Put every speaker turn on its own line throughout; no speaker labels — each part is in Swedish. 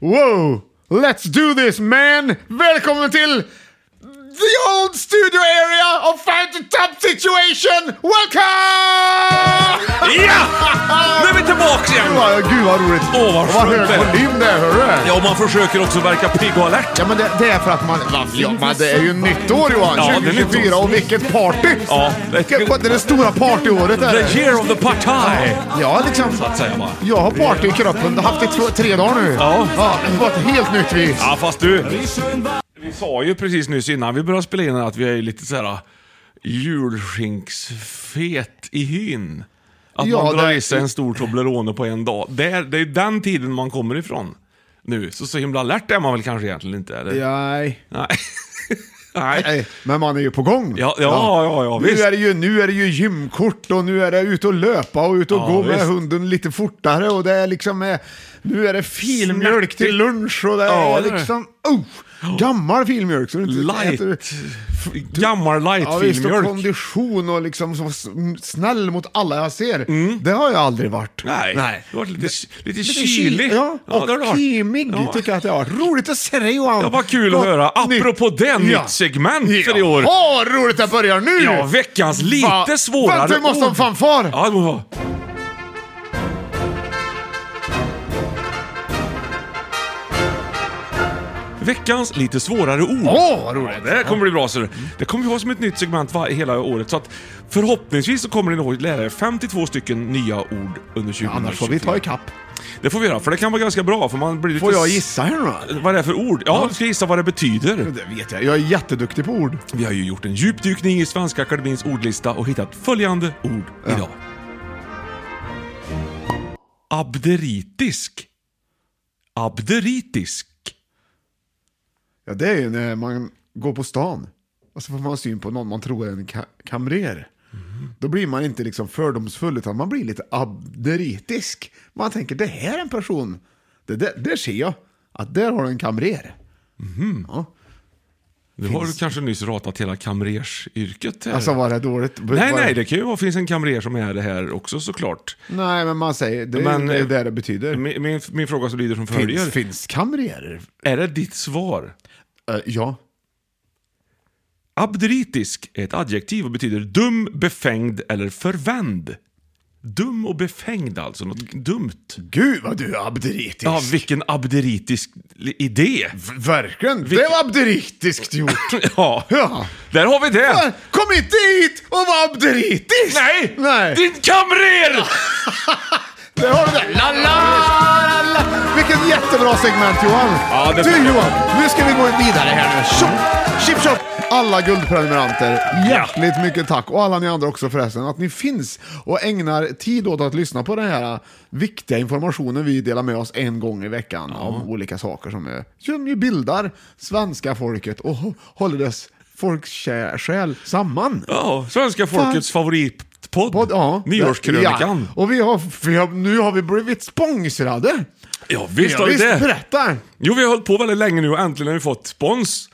Wow! Let's do this man! Välkommen till the old studio area of Phantom Top Situation! Welcome!
Ja! Nu är vi tillbaka igen!
Ja, Gud vad roligt!
Åh, vad
hög
skönt det är.
volym det är, hörru!
Ja, man försöker också verka pigg och alert.
Ja men det, det är för att man... Ja, men det är ju nytt år Johan!
Ja, det är nytt år.
2024 och vilket party!
Ja,
det är det stora partyåret är
The
det.
year of the partaj!
Ja liksom.
Så att säga va.
Jag har party i kroppen, har haft det i två, tre dagar nu.
Ja.
ja det var ett helt nytt vis.
Ja, fast du. Vi sa ju precis nyss innan vi började spela in att vi är lite så här ah, julskinksfet i hyn. Att
Ja,
man drar
det-
i sig en stor Toblerone på en dag. Det är, det är den tiden man kommer ifrån nu. Så så himla alert är man väl kanske egentligen inte? Eller?
Nej.
Nej. Nej.
Nej, men man är ju på gång.
Ja, ja, ja, ja,
nu,
visst.
är det ju, nu är det ju gymkort och nu är det ut och löpa och ut och
Ja,
gå med
visst.
hunden lite fortare och det är liksom... eh, Nu är det filmjölk till lunch och det
Ja,
är
det är det.
liksom... Oh, gammal filmjölk. Så du inte
Light.
äter-
f- Gammal
Ja, visst, och
light-filmjölk.
kondition och liksom så s- snäll mot alla jag ser. Det har jag aldrig varit.
Mm. Nej.
Nej.
Det var lite, lite,
Lite
kylig.
kyl- Ja,
Ja, det har det
och
varit.
kimig
Ja.
tycker jag att det har varit. Roligt att se dig Johan!
Ja, vad kul att
Gott
höra.
nytt-
Apropå det, nytt segment för i år.
Åh, vad roligt det börjar nu!
Ja, veckans lite
Va-
svårare
Vänta, vi måste ha en
ord.
fanfar!
Ja, det må vara. Veckans lite svårare ord.
Åh, vad roligt.
Det här kommer bli bra. Så det- det kommer vi ha som ett nytt segment var- hela året. Så att förhoppningsvis så kommer ni nog lära er 52 stycken nya ord under 2024.
Annars får vi ta ikapp.
Det får vi göra, för det kan vara ganska bra. För man blir lite
Får jag
s-
gissa här nu då?
Vad det är för ord? Ja, du ska gissa vad det betyder.
Det vet jag. Jag är jätteduktig på ord.
Vi har ju gjort en djupdykning i Svenska Akademins ordlista och hittat följande ord idag. Abderitisk. Abderitisk.
Ja, det är ju när man går på stan och så får man syn på någon man tror är en ka- kamrer.
Mhm.
Då blir man inte liksom fördomsfull utan man blir lite abderitisk. Man tänker det här är en person. Det där, där ser jag att där har du en kamrer. Ja.
Nu har du kanske nyss ratat hela kamrersyrket här.
Alltså var det dåligt?
nej,
Var-
nej, det kan ju vara, finns en kamrer som är det här också såklart.
Nej, men man säger det är
Men,
ju det,
eh,
där det betyder.
Min, min, min fråga som lyder som följer.
Finns, finns kamrerer?
Är det ditt svar?
Eh, ja.
Abderitisk är ett adjektiv och betyder dum, befängd eller förvänd. Dum och befängd alltså, något dumt.
Gud vad du är abderitisk.
Ja, vilken abderitisk li- idé!
V- Verkligen, det var abderitiskt gjort.
Ja,
Ja.
där har vi det!
Kom inte hit och var abderitisk!
Nej!
Nej!
Din kamrer!
Där har du det! La, la, la, la. Vilket jättebra segment Johan!
Ja, det-
Du Johan, nu ska vi gå vidare här nu. Tjopp, Chip chop! Alla guldprenumeranter, hjärtligt mycket tack. Och alla ni andra också förresten, att ni finns och ägnar tid åt att lyssna på den här äh, viktiga informationen vi delar med oss en gång i veckan av olika saker som, är, som ju bildar svenska folket och håller dess folksjäl samman.
Ja, svenska folkets favoritpodd.
Podd, ja.
Nyårskrönikan.
Ja. Och vi har, vi har, nu har vi blivit sponsrade
Ja, visst
Ja,
har vi
visst,
det.
berätta!
Jo, vi har hållit på väldigt länge nu och äntligen har vi fått spons.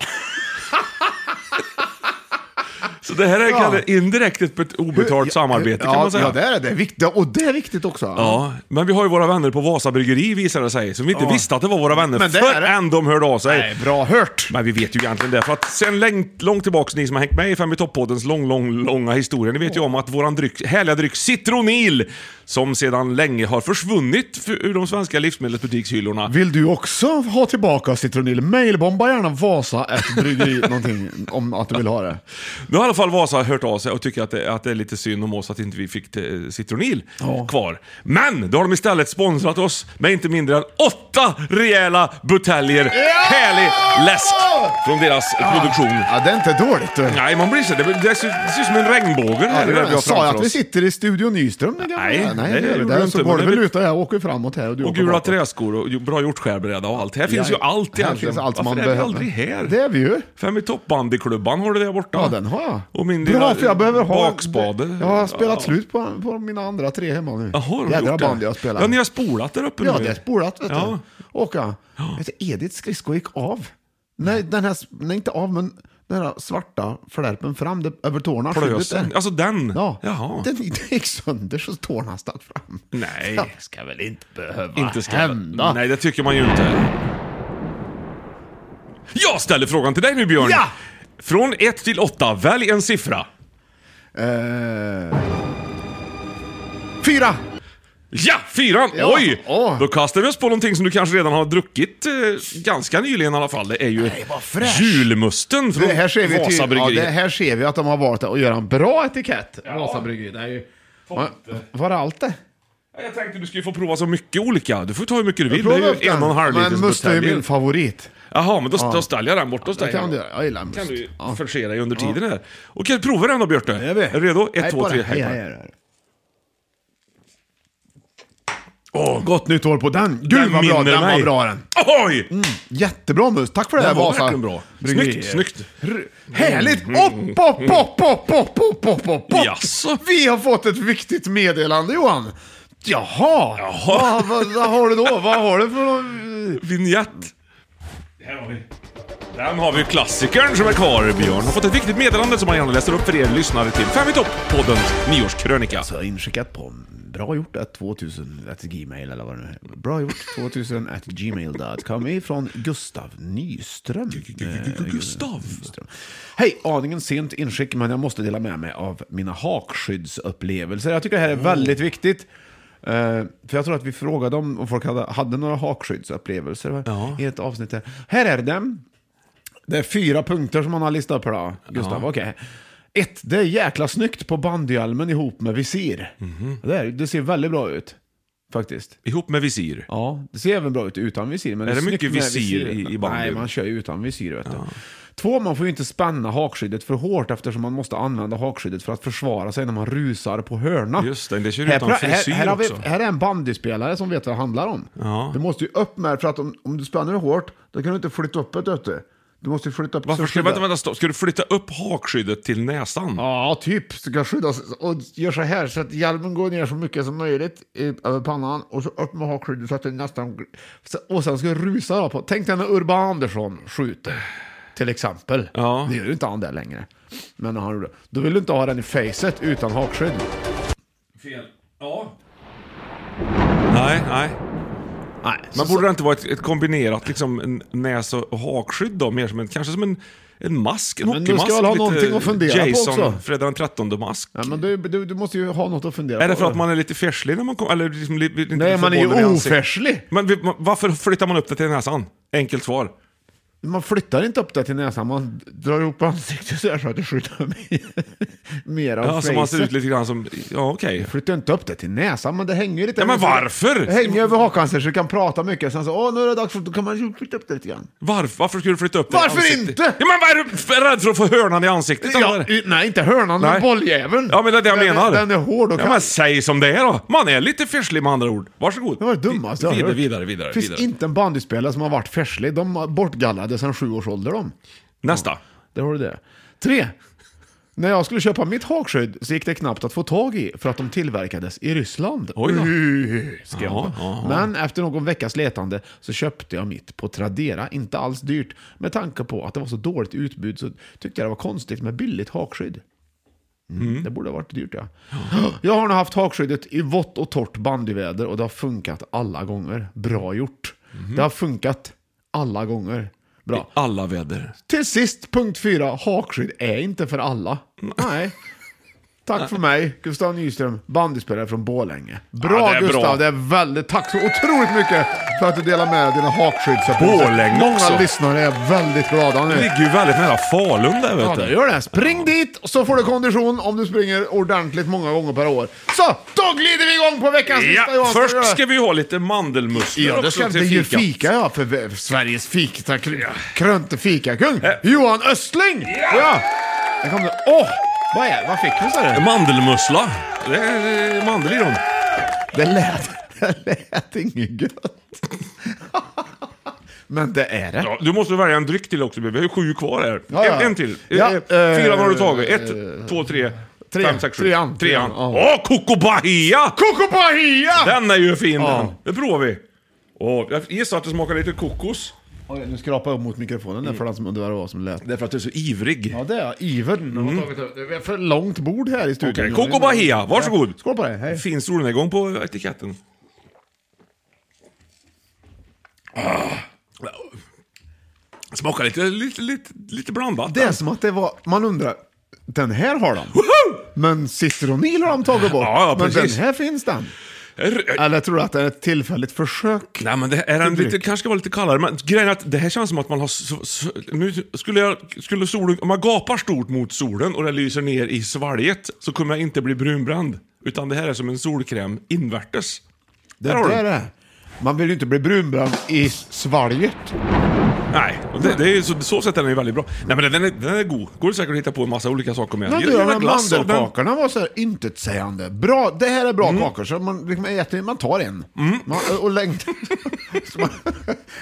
Så det här är
Ja.
kanske indirekt ett bet- obetalt samarbete kan
ja,
man säga.
Ja, det är det. Viktigt, och det är viktigt också.
Ja, men vi har ju våra vänner på Vasa Bryggeri visar det sig, som vi inte visste att det var våra vänner
Men det är det.
förrän de hörde av sig.
Nej, bra hört!
Men vi vet ju egentligen det, för att sen längt, långt tillbaks, ni som har hängt med i Fem i topp-poddens lång, lång, långa historia, ni vet ju om att våran dryck, härliga dryck Citronil, som sedan länge har försvunnit för- ur de svenska livsmedelsbutikshyllorna.
Vill du också ha tillbaka citronil? Mailbomba gärna Vasa ett bryggeri någonting om att du vill ha det.
Nu har i alla fall Vasa hört av sig och tycker att det, att det är lite synd om oss att inte vi fick te- Citronil kvar. Men då har de istället sponsrat oss med inte mindre än åtta rejäla buteljer härlig läsk från deras produktion.
Ja, det är inte dåligt. du.
Nej, man blir så. Det, det, ser, det ser ut som en regnbåge.
Ja, det
där vi har
Sa jag
framför
att vi
oss.
sitter i Studio Nyström? Det
Nej,
gör vi.
det
nej det gör vi.
gjorde vi
Där
inte,
så
men
golvet
det-
lutar, jag åker framåt här och du
Och
åker
gula
bakåt.
träskor och ju- bra jordskärbräda och allt. Här finns ju allt
Här
egentligen.
finns allt man
Varför är vi
behöver.
aldrig här?
Det är vi ju.
Fem i topp-bandyklubban har du där borta.
Ja, den har jag.
Och min
Bra,
lilla
för jag behöver ha...
bakspade.
Jag har spelat
Ja.
slut på, på mina andra tre hemma nu.
Jaha, har du
Jädra
gjort det?
band jag spelar.
Ja, ni har spolat där uppe
Ja,
nu.
det är spolat vet
Ja.
du. Åka. Vet du, Ediths skridsko gick av. Nej, den här, nej inte av, men den här svarta flärpen fram det, över tårna. skyddet
Plösen.
där.
Alltså den?
Ja,
Jaha.
den den gick sönder så tårna stack fram.
Nej.
Det ska väl inte behöva
inte ska
hända.
Nej, det tycker man ju inte. Jag ställer frågan till dig nu Björn.
Ja!
Från 1 till 8, välj en siffra.
Eh, fyra!
Ja, fyran!
Ja,
Oj!
åh.
Då kastar vi oss på någonting som du kanske redan har druckit eh, ganska nyligen i alla fall. Det är ju
vad fräscht.
julmusten från
Det här, ser vi
Vasa
till, ja,
Bryggeri.
det här ser vi att de har valt att göra en bra etikett. Vasa Bryggeri, det är ju... Va- Var det allt det?
Jag tänkte du skulle få prova så mycket olika. Du får ta hur mycket du vill. Det
Prova
är
upp
ju en och en halv
den. Men
liters
must är ju min
butelj.
favorit.
Jaha, men då, då ställer jag den bort hos
Det
dig.
kan
här
du
då.
göra. Jag gillar must.
kan du
Ja.
försera dig under tiden här. Okej, prova den då Björte.
Det gör vi.
Är du redo?
Hej
Ett,
på
två,
dig.
tre, hej.
Hej,
på
hej,
dig.
hej. Åh, gott nytt år på den! Gud
Den
vad bra,
minner
den
mig.
var bra den! Mm.
Oj!
Jättebra mus, tack för det här
Den var
Vasa!
verkligen bra.
Bryggerier.
Snyggt, snyggt.
R- Härligt! Hopp, hopp, hopp, hopp, hopp, hopp, hopp, hopp, hopp!
Jaså?
Vi har fått ett viktigt meddelande Johan! Jaha! Vad, vad, vad har du då? Vad har du för någon...
Vinjett. Här har vi. Den har vi ju klassikern som är kvar. Björn har fått ett viktigt meddelande som han gärna läser upp för er lyssnare till Fem i topp-poddens nyårskrönika.
Så Alltså, jag har inskickat på bra gjort att 2000 at gmail eller vad det nu är. Bra gjort 2000 at gmail.com ifrån Gustav Nyström. Eh,
Gustav.
Nyström. Hej, aningen sent inskick men jag måste dela med mig av mina hakskyddsupplevelser. Jag tycker det här är väldigt viktigt. Eh, för jag tror att vi frågade om, om folk hade, hade några hakskyddsupplevelser va? i ett avsnitt. Här. här är dem. Det är fyra punkter som man har listat upp här då, Gustav. Okej. Ett, det är jäkla snyggt på bandyhjälmen ihop med visir. Det, är, det ser väldigt bra ut, faktiskt.
Ihop med visir.
Ja, det ser även bra ut utan visir. Men
Är
det är
det
snyggt
mycket
med
visir
vet
i-
du.
i bandy?
Nej, man kör ju utan visir. Vet du. Två, man får ju inte spänna hakskyddet för hårt eftersom man måste använda hakskyddet för att försvara sig när man rusar på hörna.
Just det, det kör
här,
utan
pra- här,
frisyr
här, har vi,
också.
här är en bandyspelare som vet vad det handlar om. Du måste ju upp med det, för att om, om du spänner hårt, då kan du inte flytta upp det. vet Du Du måste ju flytta upp
Varför
så
ska,
skydda-
vänta, vänta, stopp. ska du flytta upp hakskyddet till näsan?
Ja, typ. Ska skyddas och gör så här så att hjälmen går ner så mycket som möjligt i, över pannan och så upp med hakskyddet så att det nästan... Och sen ska jag rusa då på. Tänk dig när Urban Andersson skjuter, till exempel.
Ja.
Det gör ju inte han där längre. Men när han gjorde det. Då vill du inte ha den i facet utan hakskydd.
Fel. Ja. Nej, nej.
Nej,
Men borde det inte vara ett, ett kombinerat liksom, en näs och hakskydd då? Mer som en, kanske som en, en mask, en
Men du ska
hockeymask.
väl ha
lite
någonting att fundera på
Jason,
också.
Fredag den 13 mask.
Ja, men du, du, du måste ju ha något att fundera på.
Är det för att man är lite färslig när man kommer? Eller liksom, li- inte
Nej,
vill
man är
få bollen i
ju
ansiktet?
ofärslig.
Men vi- man- varför flyttar man upp det till näsan? Enkelt svar.
Man flyttar inte upp det till näsan, man drar ihop ansiktet så här så att det skjuter mer av
Ja, så man ser
facet.
ut lite grann som... Ja, okej.
Flytta inte upp det till näsan, men det hänger ju lite...
Ja, men varför?
Det hänger ju över hakan så du kan prata mycket, sen så åh nu är det dags för... Då kan man ju flytta upp det lite grann.
Varför, varför skulle du flytta upp det i
Varför
ansiktet?
inte?
Ja, men vad är du för- rädd för att få hörnan i ansiktet?
Ja,
eller?
i- nej, inte hörnan,
Nej.
men bolljäveln.
Ja, men det är det jag
den,
menar.
Den är hård och
ja,
kall.
men säg som det är då. Man är lite färslig med andra ord. Varsågod.
Det var det dummaste jag har
vidare,
hört.
vidare, vidare,
finns
vidare.
inte en bandyspelare som har varit färslig. De bortgallrade sedan sju års ålder de.
Nästa.
Det har du det. Tre. När jag skulle köpa mitt hakskydd så gick det knappt att få tag i för att de tillverkades i Ryssland.
Oj då.
Uhuhu, skrev
Jaha,
hon.
jaha.
Men efter någon veckas letande så köpte jag mitt på Tradera. Inte alls dyrt. Med tanke på att det var så dåligt utbud så tyckte jag det var konstigt med billigt hakskydd. Mm, Det borde ha varit dyrt ja. Jag har nu haft hakskyddet i vått och torrt bandyväder och det har funkat alla gånger. Bra gjort. Det har funkat alla gånger. Bra.
Alla väder.
Till sist, punkt fyra. Hakskydd är inte för alla. Nej. Tack för mig, Gustav Nyström, bandyspelare från Borlänge. Bra
Ja, det är bra.
Gustav, det är väldigt... Tack så otroligt mycket för att du delar med dig av dina hakskydd.
Borlänge
Många
också.
lyssnare är väldigt glada
Det
nu.
ligger ju väldigt nära Falun där
Ja,
vet
det
du.
gör det. Spring dit så får du kondition om du springer ordentligt många gånger per år. Så, då glider vi igång på veckans lista
Ja,
Johan.
först ska vi ju ha lite mandelmusslor
Ja, det
också
ska det
till
är ju
fikat.
fika ja, för v- Sveriges fika, krönte fikakung. Johan Östling! Ja! Där kom det. Åh! Vad, är, vad fick vi sa du?
Mandelmussla. Det är eh, mandel i dem.
Det lät, det lät inget gött. Men det är det.
Ja, du måste välja en dryck till också Bibi. Vi har ju sju kvar här.
Ja, ja.
En, en till.
Ja,
Eh,
eh,
Fyra har du tagit. Ett,
eh,
två, tre,
tre.
fem, sex, sju.
Trean.
Trean.
Trean,
Åh, Coco Bahia!
Coco Bahia!
Den är ju fin
Ja.
den. Det provar vi. Åh, jag gissar att det smakar lite kokos.
Oj, nu skrapar jag upp mot mikrofonen där för den som undrar vad det var som lät.
Därför att du är så ivrig.
Ja, det är ivern. Mm. Det är för långt bord här i studion.
Okej, Coco Bahia. Varsågod.
Ja, Skål på dig. Hej.
Fin solnedgång på etiketten. Ah. Smakar lite, lite, lite, lite blandat. Alltså.
Det är som att det var, man undrar, den här har de. Men citronil har de tagit bort.
Ja, ja,
men den
precis.
här finns den.
Är-
Eller tror du att det är ett tillfälligt försök?
Nej men det är en
dryck.
lite, kanske ska vara lite kallare, men grejen är att det här känns som att man har... Så, så, nu skulle jag... Skulle solen... Om man gapar stort mot solen och det lyser ner i svalget så kommer jag inte bli brunbränd. Utan det här är som en solkräm invärtes.
Det
Där har du.
är det. Man vill ju inte bli brunbränd i svalget.
Nej, och det, det är, så, så sätt är den ju väldigt bra. Nej men den är, den är god. Går det säkert att hitta på en massa olika saker med.
Men
Jag
du, de
gillar
här
glass av den.
mandelkakorna var så här intetsägande. Bra, det här är bra
Mm.
kakor, så man, liksom äter, man tar en. Man, och längtar, så man,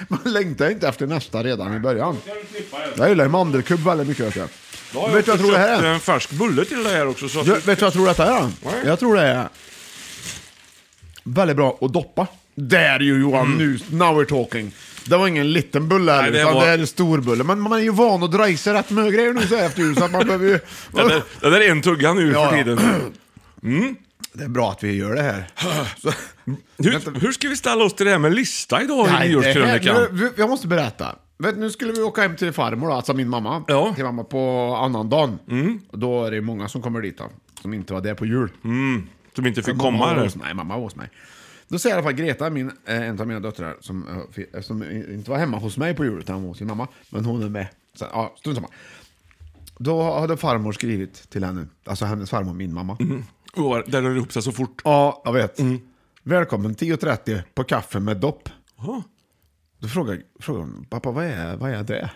man längtar inte efter nästa redan i början. Jag gillar ju mandelkubb väldigt mycket. vet jag.
Då har
Vet du vad jag tror det här
köpt
är?
en färsk bulle till det här också. Så att
Jag, vet du vad jag tror detta är?
Nej.
Jag tror det är väldigt bra att doppa. Där ju Johan, nu, now we're talking. Det var ingen liten bulle heller,
Mm. det
utan
var-
det här är stor bulle. Men man är ju van att dra i sig rätt mycket grejer nu så här efter jul, så att man behöver ju...
det, där, det där är en tugga nu
Ja,
för
ja.
tiden.
Det är bra att vi gör det här. Så-
Hur, hur ska vi ställa oss till det här med lista idag i
det här-
nyårskrönikan?
nu- Jag måste berätta. Vet, nu skulle vi åka hem till farmor, då, alltså min mamma.
Ja. Mm.
Till mamma på annandagen. Och Då är det många som kommer dit då, som inte var där på jul.
Som inte fick
Men mamma
komma
var
eller?
hos- Nej, mamma var hos mig. Då säger i alla fall Greta, min, eh, en av mina döttrar, som, eh, fi- eh, som i- inte var hemma hos mig på jul, utan hon var hos sin mamma. Men hon är med. Så, ja, strunt samma. Då hade farmor skrivit till henne, alltså hennes farmor, min mamma.
Oh, där rör det ihop sig så fort.
Ja, jag vet.
Mm.
Välkommen 10.30 på kaffe med dopp. Då frågar, frågar hon, pappa vad är, vad är det? Mm.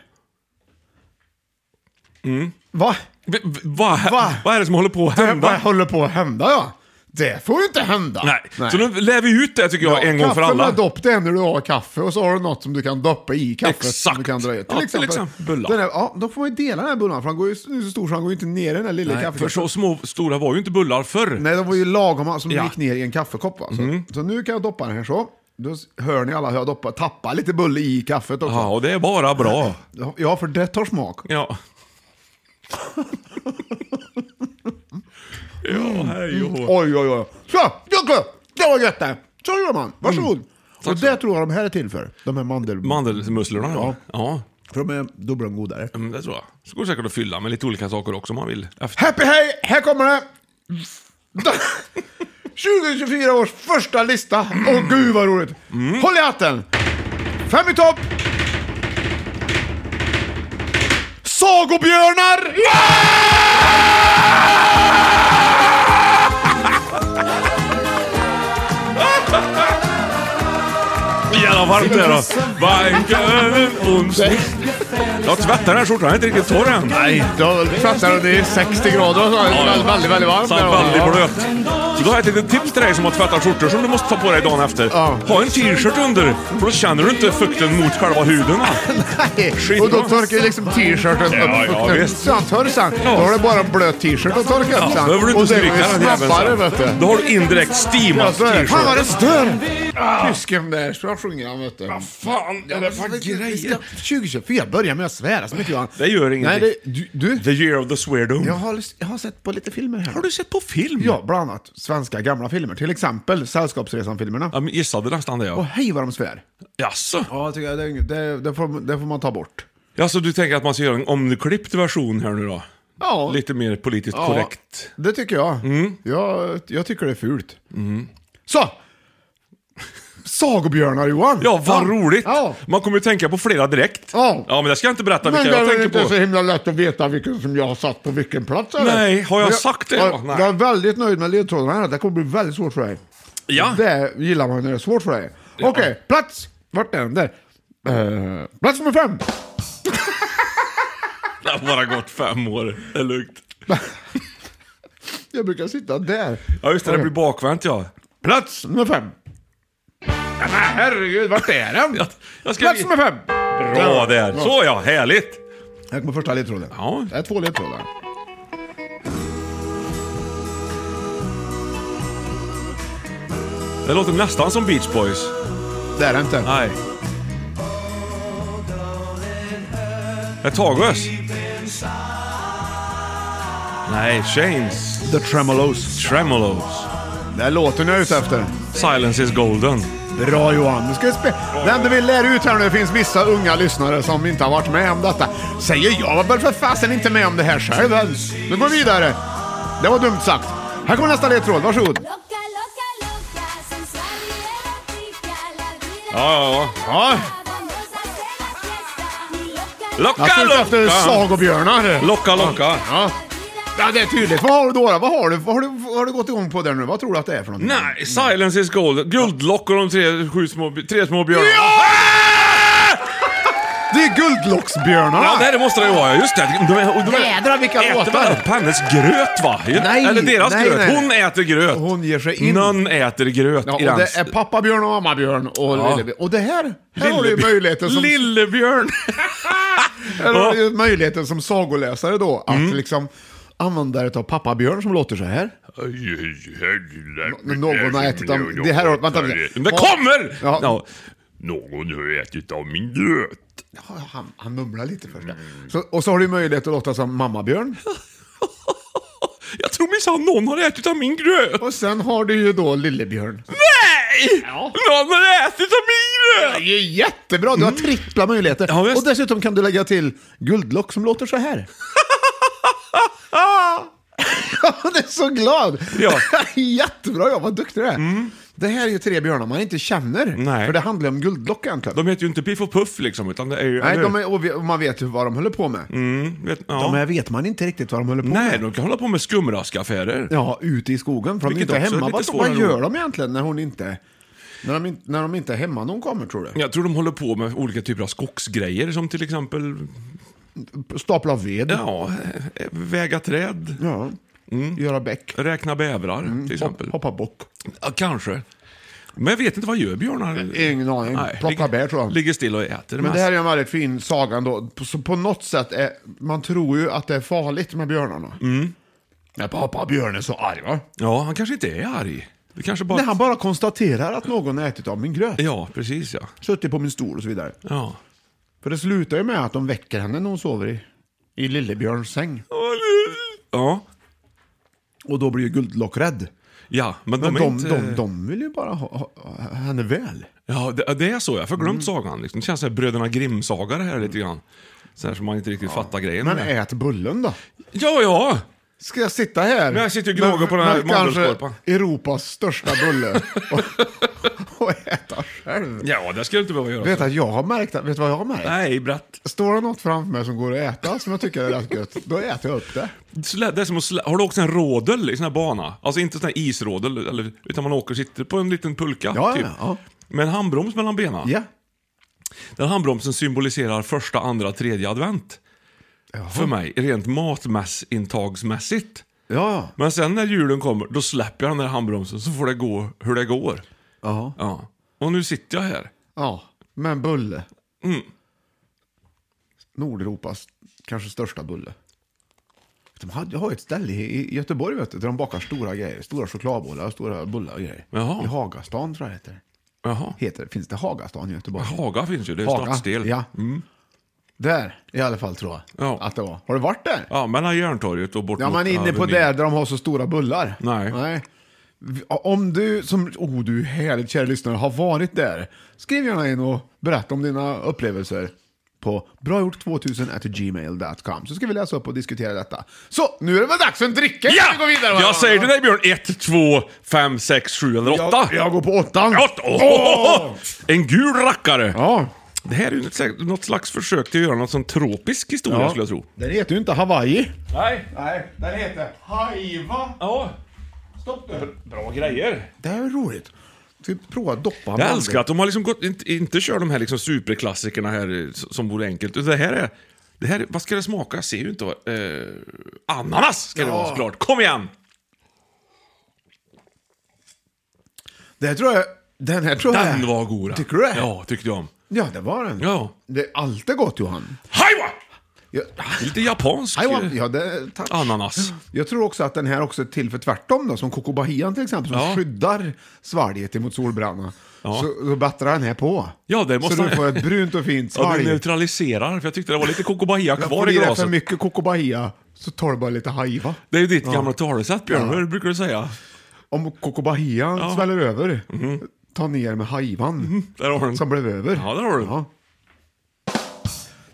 Mm.
Va?
V- v- Vad
Va?
vad är det som håller på att hända?
Vad håller på att hända ja? Det får ju inte hända.
Nej. Så nu lär vi ut det tycker jag en gång för
Kaffe
alla.
med dopp, det är när du har kaffe och så har du något som du kan doppa i kaffet. Som
Exakt.
du kan dra i.
Ja, till exempel bullar.
Den här, ja, då får man ju dela den här bullan, för han går ju nu är så stor så han går ju inte ner i den här lilla
Nej,
kaffekoppen.
för så små, stora var ju inte bullar förr.
Nej, de var ju lagom som
Ja. Mm.
gick ner i en kaffekopp. Va? Så, så nu kan jag doppa den här så. Då s- hör ni alla hur jag doppar, tappar lite bulle i kaffet också.
Ja, och det är bara bra.
Ja, för det tar smak.
Ja. ja, hej och hå.
Oj, oj, oj. Så, Jocke! Det var gött det! Så gör man, varsågod. Och
Mm. Tack så.
det tror jag de här är till för, de här mandel...
Mandelmusslorna
Ja.
ja. ja.
För de är dubbla godare.
Mm, Det tror jag. Så går det säkert att fylla med lite olika saker också om man vill. Efter.
Happy Hej! Här kommer det! 2024 års första lista. Åh gud vad roligt! Håll i hatten! Fem i topp! Sagobjörnar!
Jävlar varmt det är då. Banken, onsdag. Jag har tvättat den här skjortan, den är inte riktigt torr än.
Nej, du har väl tvättat och det är 60 grader och så. Det är väldigt, väldigt, väldigt varmt.
Så
där.
väldigt
Ja.
blöt. Så då har jag ett litet tips till dig som har tvättat skjortor som du måste ta på dig dagen efter.
Ja.
Ha en t-shirt under, för då känner du inte fukten mot själva huden. va?
Nej, Och då torkar ju liksom t-shirten
Ja,
upp.
ja, visst.
Så han torr sen. Då har du bara en blöt t-shirt att torka upp
Ja,
sen.
behöver du
och
inte stryka
den är
den jäveln
snabbare,
sen.
vet du.
Då har du indirekt
Ja,
steamat
så är det. Fan vad det
t-shirten.
stör! Tysken där, så jag sjunger han vet du. Vad
fan är det för grejer?
2024 börjar med att svära så mycket Johan.
Det gör ingenting.
Nej, det, du, du
The year of the sweardom.
jag, har, jag har sett på lite filmer här.
Har du sett på film?
Ja, bland annat svenska gamla filmer. Till exempel Sällskapsresan-filmerna.
Ja, men gissade nästan det
Och
ja.
hej vad de svär.
Jaså?
Ja, tycker jag, det, det, det, får, det får man ta bort.
Alltså du tänker att man ska göra en omklippt version här nu då?
Ja.
Lite Mm. mer politiskt
Ja,
korrekt.
Det tycker jag. jag. Jag tycker det är fult.
Mm.
Så! Sagobjörnar Johan!
Ja, vad roligt!
Ja.
Man kommer ju tänka på flera direkt.
Ja.
ja, men det ska jag inte berätta
Men
vilka
det är
jag
väl
tänker
inte
på.
så himla lätt att veta vilken som jag har satt på vilken plats? Eller?
Nej, har jag
Men
sagt det?
Jag,
Nej.
jag är väldigt nöjd med ledtrådarna här. Det kommer bli väldigt svårt för dig.
Ja.
Det gillar man när det är svårt för dig. Okej, plats! Vart är den? Där. Eh, plats nummer fem!
Det har bara gått fem år. Det är lugnt.
Jag brukar sitta där.
Ja, just det. Det blir bakvänt ja.
Plats nummer fem! Ja, men herregud, vart är den?
Jag, jag ska...
plats nummer fem!
Bra där. Så ja, härligt.
Här kommer första ledtråden.
Ja.
Det är två ledtrådar.
Det låter nästan som Beach Boys.
Det är det inte.
Nej. Det är Tages. Nej, Chains.
The Tremolos.
Tremolos.
Det är låten jag är ute efter.
Silence is golden.
Bra Johan. Nu ska vi spe- det enda vi lär ut här nu, det finns vissa unga lyssnare som inte har varit med om detta. Säger jag, var för fasen inte med om det här själv ens. Nu går vi vidare. Det var dumt sagt. Här kommer nästa ledtråd, varsågod.
Loca, loca, loca, sensualidad rica, la vida
Ja, ja,
Ja,
ja.
vamos a hacer la fiesta. Mi loca,
jag
Locka,
ska ut efter
locka!
sagobjörnar.
Locka, locka.
Ja. ja, det är tydligt. Vad har du då? då? Vad har du, vad har du, vad har du gått igång på där nu? Vad tror du att det är för någonting?
Nej, Silence is golden. Guldlock och de tre, sju små, tre små björnarna.
Det är Guldlocksbjörnarna!
Ja, det här måste det ju vara. Just det. De, de, de
Ah! Jädrar, vilka
äter
låtar.
väl upp hennes gröt va?
Nej,
Eller deras
nej,
gröt.
nej.
Hon äter gröt.
Hon ger sig in.
Någon äter gröt
Ja, och
i den.
det är pappabjörn och mammabjörn och
Ja.
lillebjörn. Och det här, här har du ju
Lillebjörn.
möjligheten som,
Lillebjörn!
här har du ju möjligheten som sagoläsare då att
Mm.
liksom använda det av pappabjörn som låter så här. N- Någon har ätit av... Det här har... Vänta lite.
Det kommer!
Ja.
Ja. Någon har ätit av min gröt.
Han, han mumlar lite först. där.
Mm.
Så, och så har du möjlighet att låta som mammabjörn.
Jag tror minsann någon har ätit av min gröt.
Och sen har du ju då lillebjörn.
Nej! Någon har ätit av min gröt!
Det är ju jättebra, du har trippla möjligheter.
Mm. Ja, visst.
och dessutom kan du lägga till guldlock som låter så här. Han är så glad!
Ja. Mm.
Jättebra jobbat, vad duktig du är. Det här är ju tre björnar man inte känner,
Nej.
för det handlar om guldlock egentligen.
De heter ju inte Piff och Puff liksom, utan det är ju...
Nej,
eller
de
hur?
är, och vi- och man vet ju vad de håller på med.
Vet, ja.
De här vet man inte riktigt vad de håller på
Nej,
med.
de kan hålla på med skumraskaffärer.
Ja, ute i skogen, för de är
Vilket
inte
också är
hemma.
lite
Vad,
svårare
vad gör
ord.
de egentligen när hon inte... När de, inte- när de inte är hemma när hon kommer, tror du?
Jag tror de håller på med olika typer av skogsgrejer som till
Mm.
exempel
Stapla ved,
ja, eh, väga träd,
Ja. göra bäck,
räkna bävrar till exempel.
hop- hoppa bock.
Ja, kanske. Men jag vet inte, vad gör björnar?
Ingen aning. Plockar
ligger-
bär, tror jag.
Ligger still och äter
Men
mest.
det här är en väldigt fin saga ändå. På- Så på något sätt, är, man tror ju att det är farligt med björnarna.
Mm.
Men pappa björn är så arg va?
Ja, han kanske inte är arg. Det kanske bara...
Nej, han bara konstaterar att någon har ätit av min gröt.
Ja, precis ja.
Suttit på min stol och så vidare.
ja.
För det slutar ju med att de väcker henne när hon sover i, i lillebjörns säng.
Ja,
Och då blir ju Guldlock rädd.
ja men,
Men
de,
de,
är
de,
inte...
de, vill ju bara ha, ha, ha henne väl.
Ja, det, det är så. Jag har förglömt
Mm.
sagan. Liksom. Det känns som Bröderna Grimm-saga det här lite grann. Så här som man inte riktigt fattar grejen
Men
med.
ät bullen då.
Ja, ja!
Ska jag sitta här?
Men jag sitter och gnager på den här
med kanske
mandelskorpan.
Europas största bulle. och, och äta själv.
Ja, det ska du inte behöva göra.
Vet att jag har märkt, vet du vad jag har märkt?
Nej, bratt.
Står det något framför mig som går att äta som jag tycker är rätt gött, då äter jag upp det.
Slä, det är som att slä, har du åkt en rådel i sån här bana? Alltså inte sån här isrådel, eller, utan man åker och sitter på en liten pulka
Ja,
typ.
ja, ja.
Med en handbroms mellan benen.
Ja.
Den handbromsen symboliserar första, andra, tredje advent. För mig, rent matmässintagsmässigt.
Ja,
Men sen när julen kommer, då släpper jag den där handbromsen så får det gå hur det går.
ja.
Ja. Och nu sitter jag här.
ja. Men bulle.
Mm.
Nordeuropas kanske största bulle. De hade- jag har ju ett ställe i i Göteborg vet du, där de bakar stora grejer. Stora chokladbollar, stora bullar och grejer.
Jaha.
I Hagastan tror jag det heter.
Jaha.
heter. Finns det Hagastan i Göteborg?
Haga finns ju, det är
Haga,
stadsdel. Mm.
ja. Där i alla fall tror jag
Ja.
att det var. Har du varit där?
ja, mellan Järntorget och bort
Ja,
mot
man är inne på
Avenyn.
där, där de har så stora bullar.
Nej.
V- Om du som, oh du är härligt kära lyssnare, har varit där, skriv gärna in och berätta om dina upplevelser på bragjort2000gmail.com så ska vi läsa upp och diskutera detta. Så, nu är det väl dags för en dricka innan
Ja!
vi går vidare. va?
Jag säger till dig Björn, 1, 2, 5, 6, 7 eller 8.
Jag, jag går på åttan.
Åtta! Åh! En gul rackare!
Ja.
Det här är ju något- något slags försök till att göra något sån tropisk historia skulle jag tro.
Den heter ju inte Hawaii.
Nej.
Nej, den heter Haiva.
Ja.
Stopp nu.
Bra grejer.
Det här är roligt. Ska vi prova att doppa
Jag
handen?
älskar att de har liksom gått, inte, inte kör de här liksom superklassikerna här eh, s- som vore enkelt. Utan Det här är... Det här, är- vad ska det smaka? Jag ser ju inte vad... Eh, ananas ska det
Ja.
vara såklart. Kom igen!
Det här tror jag... Den här tror jag...
Den var god.
Tycker du det?
Ja, tyckte jag om.
Ja, det var den.
Ja.
Det är alltid gott Johan.
Haiwa!
Jag,
Det är Lite japansk
I want,
eh,
ja, det, tack.
ananas.
Jag tror också att den här också är till för tvärtom då, som Coco Bahian till exempel, som
Ja.
skyddar svalget emot solbränna. Så, så bättrar den här på.
Ja, det måste
så du
han-
får ett brunt och fint
Ja,
svalg.
du neutraliserar, för jag tyckte det var lite Coco Bahia
Ja,
kvar
får
i
i dig för
glaset.
mycket Coco Bahia så tar du bara lite haiva.
Det är ju ditt gamla talesätt Björn,
Ja.
vad brukar du säga?
Om Coco Bahia
Ja. Mhm.
sväller över, ta ner med haivan
Där har du den.
som blev över.
Ja, där har du den.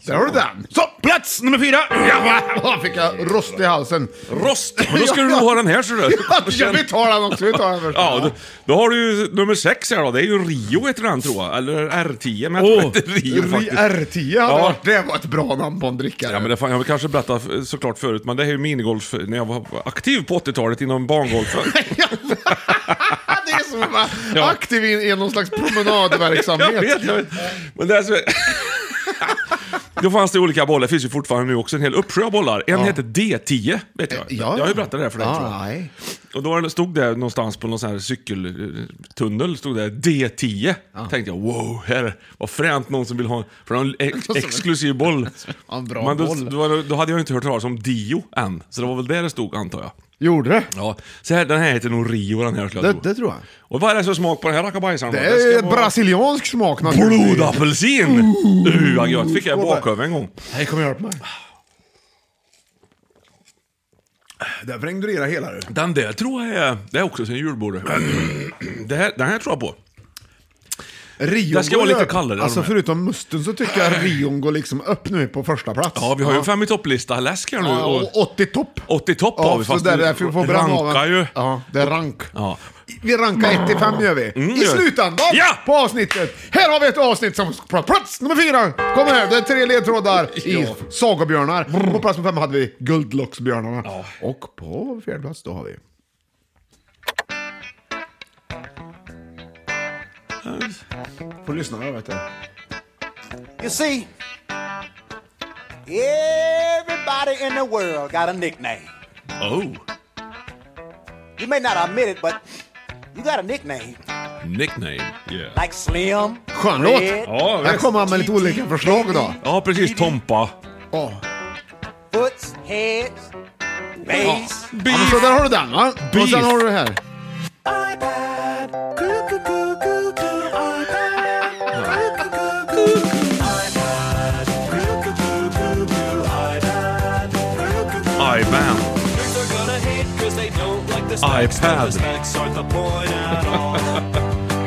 Där har du den. Så, plats nummer fyra! Ja, va, fick jag rost i halsen.
Rost! Men då ska du nog ha den här ser du.
Ja, ja, vi tar den också. Vi tar den först.
Ja, då, då har du ju nummer sex här då. Det är ju Rio heter den tror jag. Eller R10, men jag tror inte Rio faktiskt.
R10 hade
Ja.
varit, det var ett bra namn på en dricka.
Ja, men det fan, jag har kanske berättat eh, såklart förut, men det här är ju minigolf när jag var aktiv på 80-talet inom bangolfen.
det är som att vara
Ja.
aktiv i i någon slags promenadverksamhet.
Jag vet, jag vet. Men det är så... Då fanns det olika bollar, det finns ju fortfarande nu också en hel uppsjö av bollar. En heter D10, vet jag. Jag har ju berättat det här för dig tror jag.
ah, nej.
Och då stod det någonstans på någon sån här cykeltunnel, stod det D10. Tänkte jag, wow, här, vad fränt någon som vill ha för en ex exklusiv boll.
Ja, en bra
Men då,
boll.
Då, då hade jag inte hört talas om Dio än, så det var väl där det stod antar jag.
Gjorde det?
Ja, så här, den här heter nog Rio den här skulle
det?
jag
Det
tro.
tror jag.
Och vad är det för smak på den här rackabajsaren?
Det
då? ska
är
vara-
brasiliansk smak naturligtvis.
Blodapelsin! Uh, vad gött, fick jag i bakhuvud en gång.
Nej, kom och hjälp mig. Där vrängde du i dig hela du.
Den där tror jag är, det är också sin julbord. Det här, den här tror jag på.
Rion
Den ska
går
vara lite
över.
kallare,
Alltså
de här. Äh.
förutom musten så tycker jag Rion går liksom upp nu på första plats.
Ja, vi har ju en fem i topplista läsk här nu.
Ja,
och-
och 80 topp.
80 topp
Ja,
har vi,
så
fast
där,
vi
därför får bränna av
rankar
en-
ju.
Ja, det är rank.
Ja. Mm,
Vi rankar 1 till 5 gör vi. I
gör vi.
slutändan
Ja!
på avsnittet. Här har vi ett avsnitt som på plats nummer fyra. Kom här, det är tre ledtrådar i
Ja.
Sagobjörnar. På plats nummer fem hade vi Guldlocksbjörnarna.
Ja.
Och på fjärde plats då har vi... Får du lyssna då vet du.
You see, everybody in the world got a nickname.
Oh,
You may not admit it, but you got a nickname.
nickname. Yeah.
Like Slim.
Skön låt!
Red,
Ja,
Här
visst.
kommer han med lite olika förslag idag.
Ja, precis. Tompa.
Ja.
Foots, heads, bass.
Ja, men
Beef.
så där har du den va? Och
Beef.
sen har du det här.
iPad. Coo-coo-coo-coo-coo. iPad. Coo-coo-coo-coo. iPad. Coo-coo-coo-coo-coo. iPad. Coo-coo-coo.
Iban.
Nerds are gonna hate 'cause they don't like the specs.
iPad.
The specs aren't the point at all.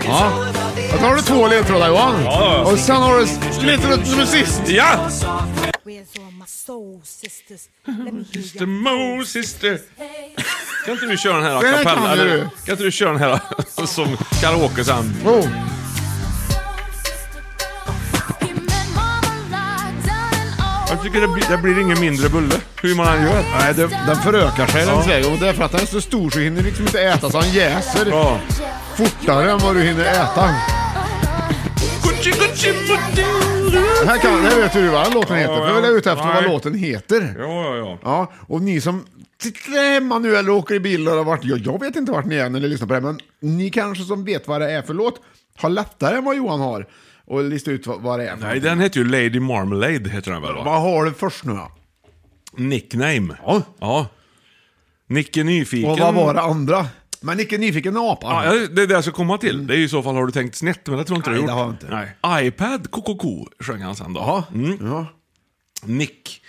It's all about the
Och då har du två ledtrådar Johan.
Ja.
Och sen har du ledtråd nummer sist.
Ja!
Where's all my soul sisters? Let me hear
Mr Mo, sister. Kan inte du köra den här
Den här
a cappella?
kan du.
Eller, kan inte du köra den här som karaoke sen?
Oh.
Jag tycker det, blir- det blir ingen mindre bulle, hur man än gör.
Nej, den, den förökar sig den vägen. Och det är för att den är så stor så hinner liksom inte äta så han jäser
Ja.
fortare än vad du hinner äta.
Good
Här, kan, här vet du vad låten heter, för jag är ute efter vad
Nej.
låten heter.
Ja, ja, ja.
Ja, och ni som sitter hemma nu eller åker i bil och har varit, jag, jag vet inte vart ni är när ni lyssnar på det här, men ni kanske som vet vad det är för låt har lättare än vad Johan har och lista ut vad, vad det är.
Nej, den heter ju Lady Marmalade, heter den väl? Va?
Vad har du först nu då?
Nickname.
Ja.
ja. Nicke Nyfiken.
Och vad var det andra? Men Nicke Nyfiken är apan.
Ja, det är det jag ska komma till. Det är ju i så fall har du tänkt snett, men det tror jag inte
Mm. Nej,
du
det
har
har jag
gjort.
inte.
Nej. iPad KKK sjöng han sen då. Mm.
Ja.
Nick.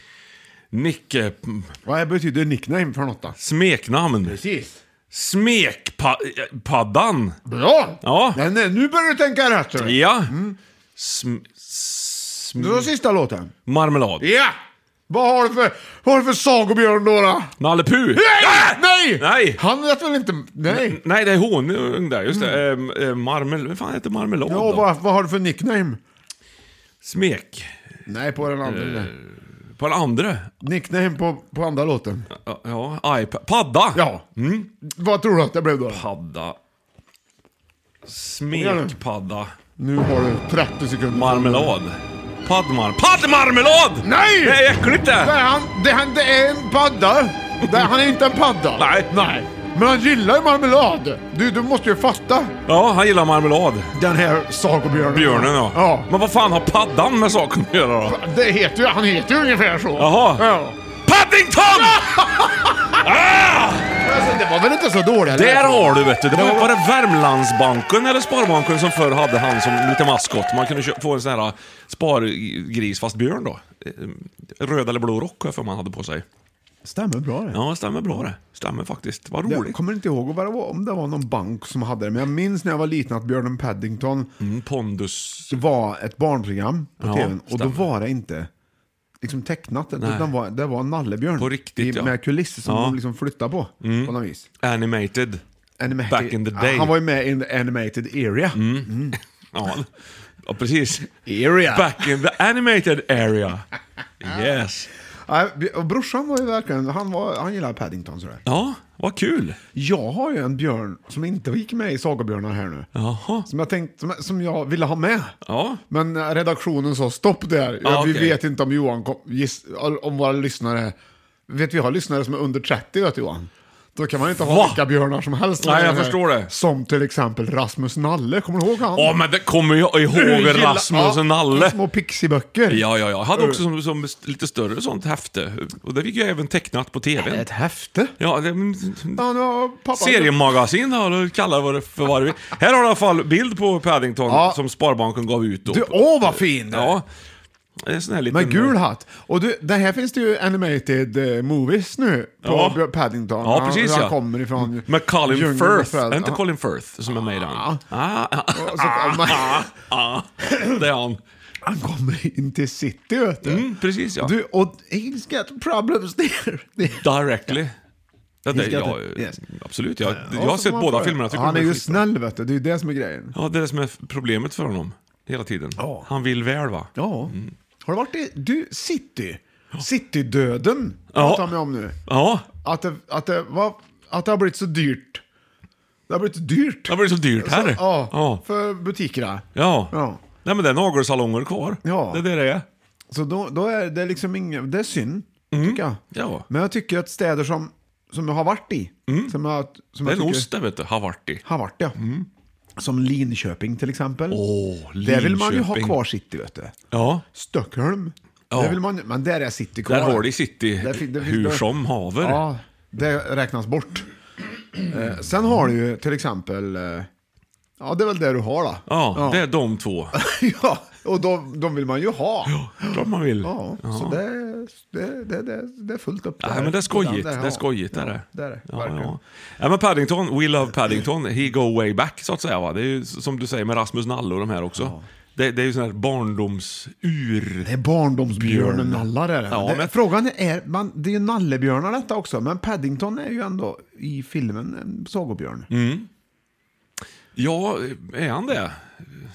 Nick... eh, p-
Vad betyder nickname för något då?
Smeknamn. eh,
Precis.
Smekpaddan.
Bra!
Ja.
Nej, nej, nu börjar du tänka rätt. ser du.
Ja.
Mm.
Sm, sm,
Det var sista låten.
marmelad.
Ja! Vad har du för, vad har du för sagobjörn då? då?
Nalle Puh.
Nej! Nej!
Nej!
Han vet väl inte... Nej.
Nej, det är honung där. Just det. Mm. marmel... Vad fan heter marmelad
Ja,
då?
vad, vad har du för nickname?
Smek.
Nej, på den
Eh.
andra.
På den andra.
Nickname på, på andra låten.
Ja, Ja, iPad. Padda.
Ja. Mm. Vad tror du att det blev då?
Padda. Smekpadda.
Nu har du 30 sekunder.
Marmelad. Paddmar... Paddmarmelad!
Nej!
Det är äckligt
Det
det!
är, han, det, är han, det är en padda. Det är, han är inte en padda.
Nej. Nej.
Men han gillar ju marmelad. Du, du måste ju fatta.
Ja, han gillar marmelad.
Den här sagobjörnen.
Björnen ja.
Ja.
Men vad fan har paddan med saken att göra då?
Det heter ju, han heter ju ungefär så.
Jaha.
Ja.
Paddington! ah!
Alltså, det var väl inte så dåligt?
Där har du vet du. Det var, var det Värmlandsbanken eller Sparbanken som förr hade han som lite maskot? Man kunde kö- få en sån här äh, spargris fast björn då. Eh, Röd eller blå rock har jag för man hade på sig.
Stämmer bra det.
Ja, stämmer bra det. Stämmer faktiskt. Vad
Jag
roligt.
kommer inte ihåg vad det var, om det var någon bank som hade det, men jag minns när jag var liten att Björnen Paddington
Mm, pondus.
det var ett barnprogram på
Ja,
tvn och då
stämmer.
var det inte liksom tecknat, utan var, det var en nallebjörn
På riktigt,
i,
ja.
med kulisser som
Ja.
de liksom flyttade på på något vis.
Animated.
Animated-
Back in the
Ja,
day. Mm.
Han var ju med in the animated area.
Ja, ja precis.
Area.
Back in the animated area. Yes.
Ja, och brorsan var ju verkligen, han, var, han gillade Paddington sådär.
Ja, vad kul.
Jag har ju en björn som inte gick med i Sagobjörnar här nu.
Jaha.
Som jag, tänkt, som, som jag ville ha med.
Ja.
Men eh, redaktionen sa stopp där.
Ja,
Ja, vi
okej.
vet inte om Johan kom, giss, om våra lyssnare... Vet vi har lyssnare som är under 30, vet du Johan? Då kan man inte ha
Va?
vilka björnar som helst.
Nej,
med
jag
här.
förstår det.
Som till exempel Rasmus Nalle, kommer du ihåg han?
Ja, men det kommer jag
Du
ihåg
gillar-
Rasmus och Nalle.
Små pixieböcker.
Ja, ja, ja. Jag hade också
Mm.
som, som lite större sånt häfte. Och det fick jag även tecknat på tv.
Ett häfte.
Ja, det,
Ja, nu har pappa...
seriemagasin har du kallat vad det för vad du vill. Här har du i alla fall bild på Paddington
Ja.
som Sparbanken gav ut då.
Du, åh vad fin!
ja. En sån här liten... eh,
Med gul hatt. Och du, det här finns det ju animated eh, movies nu på
Ja.
Björ- Paddington.
Ja,
Han-
precis
han,
ja.
kommer ifrån...
Med Colin
djungeln
Firth.
med
Är det inte
Ja.
Colin Firth som är med i den? Ah, ah, ah,
Och så kommer-
ah. Det är han.
Han kommer in till city, vet du.
Mm, precis ja.
Du, och he's got problems there. Det-
Directly. Ja, det,
He's
ja,
got it. Yes.
Absolut, jag,
Ja,
jag har
så
sett
får man
båda
få det.
filmerna. Jag tycker
Han
de
är ju
skitbra.
snäll, vet du. Det är ju det som är grejen.
Ja, det är det som är problemet för honom. Hela tiden.
Ja.
Han vill väl va?
Ja. Mm. Har du varit i... Du, city. Citydöden
Ja.
pratar man om nu.
Ja.
Att det, att, det var, att det har blivit så dyrt. Det har blivit så dyrt.
Det blir så dyrt här.
Ja,
Ja.
för butikerna.
Ja.
Ja.
Nej men det är nagelsalonger kvar.
Ja.
Det är det det är.
Så då, då är det liksom ingen, det är synd,
Mm.
tycker jag.
Ja.
Men jag tycker att städer som, som jag har varit i, som jag, som
Mm. Det är
jag
en
tycker
ost det vet du. Havarti.
har varit ja. Som Linköping till exempel.
Åh,
Där vill man ju ha
Linköping.
kvar city, vet du.
Ja.
Stockholm,
Ja.
där vill man, men där är city kvar.
Där har de city
Där fin- där fin-
hur
där-
som haver.
Ja, det räknas bort. Eh, sen har du ju till exempel, eh, ja det är väl det du har då.
Ja, det är de två.
ja och de, de vill man ju ha.
Klart man vill.
Ja, så det, är- det, det, det, det är fullt upp
Nej,
där.
men det är skojigt.
Där,
Det är
ja.
skojigt. det är
Ja,
det.
det är det.
Ja,
verkligen.
ja. ja, men Paddington, we love Paddington, he go way back så att säga. Va? Det är ju som du säger med Rasmus Nalle och de här också. Det, det är ju sån här barndomsur.
Det är barndomsbjörnen nallar är det.
Ja,
det
men-
Frågan är, man, det är ju nallebjörnar detta också, men Paddington är ju ändå
Mm.
i filmen en sagobjörn.
Ja, är han det?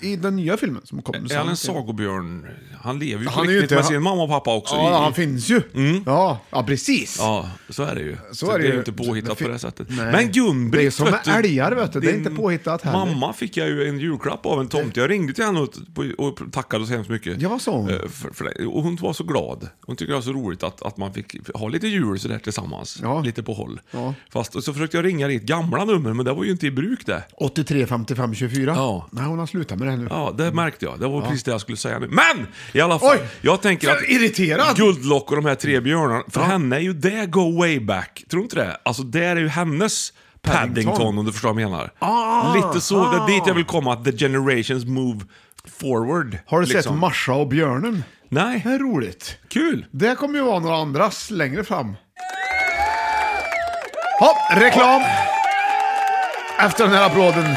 I den nya filmen som kom.
Är
sen
han en
till-
sagobjörn? Han lever ju på
Han är ju
riktigt
inte-
med
han-
sin mamma och pappa också.
Ja,
i- Mm.
han finns ju. Ja, ja, precis.
Ja, så är det ju. Så,
är det
det är
ju.
ju inte
Det
påhittat
fin-
på det sättet.
Nej.
Men Gun-Britt...
Det är som med
vet du,
älgar, vet du. Det är
din
inte påhittat heller.
Mamma fick jag ju en julklapp av en tomte. Jag ringde till henne och, och tackade så hemskt mycket.
Ja, vad sa hon?
eh, För, för det. Och hon var så glad. Hon tyckte det var så roligt att, att man fick ha lite jul sådär tillsammans.
Ja.
Lite på håll.
Ja.
Fast, och så försökte jag ringa ditt gamla nummer, men det var ju inte i bruk det.
83, 55, 24.
Ja.
Nej, hon har slutat med det här nu.
Ja, det märkte jag. Det var precis det jag skulle säga nu. Men! I alla fall,
Mm. Oj!
jag tänker
Så
att...
irriterad!
Guldlock och de här tre björnarna. För henne är ju det go way back. Tror du inte det? Alltså, det är ju hennes Paddington,
Paddington, Ah!
om du förstår vad jag menar. Lite så. Det är dit jag vill komma, att the generations move forward.
Har du sett
liksom.
Marsha och björnen?
Nej.
Det är roligt.
Kul!
Det kommer ju vara några andras längre fram. Ja, reklam! Efter den här applåden.
Mm.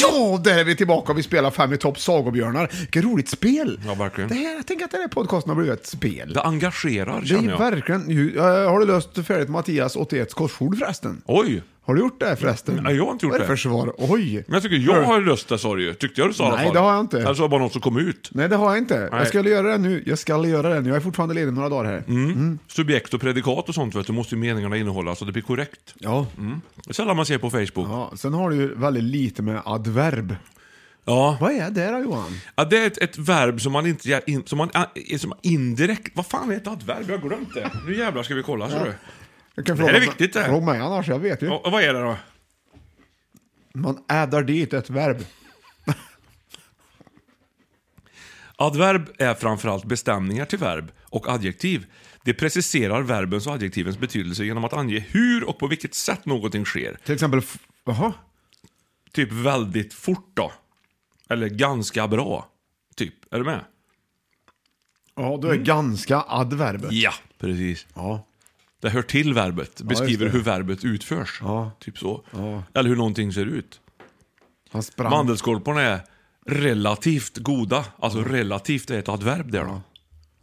Ja, där är vi tillbaka. Vi spelar Fem i topp, Sagobjörnar. Vilket roligt spel.
Ja, verkligen.
Det här, jag tänker att den här podcasten har blivit ett spel.
Det engagerar,
Det är
känner jag.
verkligen... ju- eh, Har du löst färdigt Mattias 81 korsord förresten?
Oj!
Har du gjort det förresten?
Mm, Nej, jag har inte gjort
Vad är
det.
för svar? Oj!
Men jag tycker jag har löst det, sa du ju. Tyckte jag du sa i alla
Nej,
fall.
det har jag inte.
Eller så var det bara något som kom ut.
Nej, det har jag inte.
Nej. Mm.
Jag ska göra det nu. Jag ska göra det nu. Jag är fortfarande ledig några dagar här.
Subjekt och predikat och sånt, vet du, måste ju meningarna innehålla så det blir korrekt. Mm.
Ja.
Det är sällan man ser på Facebook. Ja.
ja. Sen har du ju väldigt lite med adverb. Vad är det då Johan?
Ja, det är ett, ett verb som man inte... in- Som man, eh, som man indirekt... Vad fan är ett adverb? Jag har glömt det. Nu jävlar ska vi kolla. Ja. Du.
Jag kan
Det här är viktigt, det här.
Fråga mig annars, jag vet ju.
Och, och vad är det då?
Man addar dit ett verb.
Adverb är framförallt bestämningar till verb och adjektiv. Det preciserar verbens och adjektivens betydelse genom att ange hur och på vilket sätt någonting sker.
Till exempel, f- jaha?
Typ väldigt fort då. Eller ganska bra. Typ. Är du med?
Ja, då är ganska adverb.
Mm. Ja, precis.
Ja.
Det hör till verbet. Beskriver
det.
hur verbet utförs.
Ja.
Typ så. Eller hur någonting ser ut.
Han sprang.
Mandelskorporna är relativt goda. Alltså
Mm.
relativt är ett adverb där då.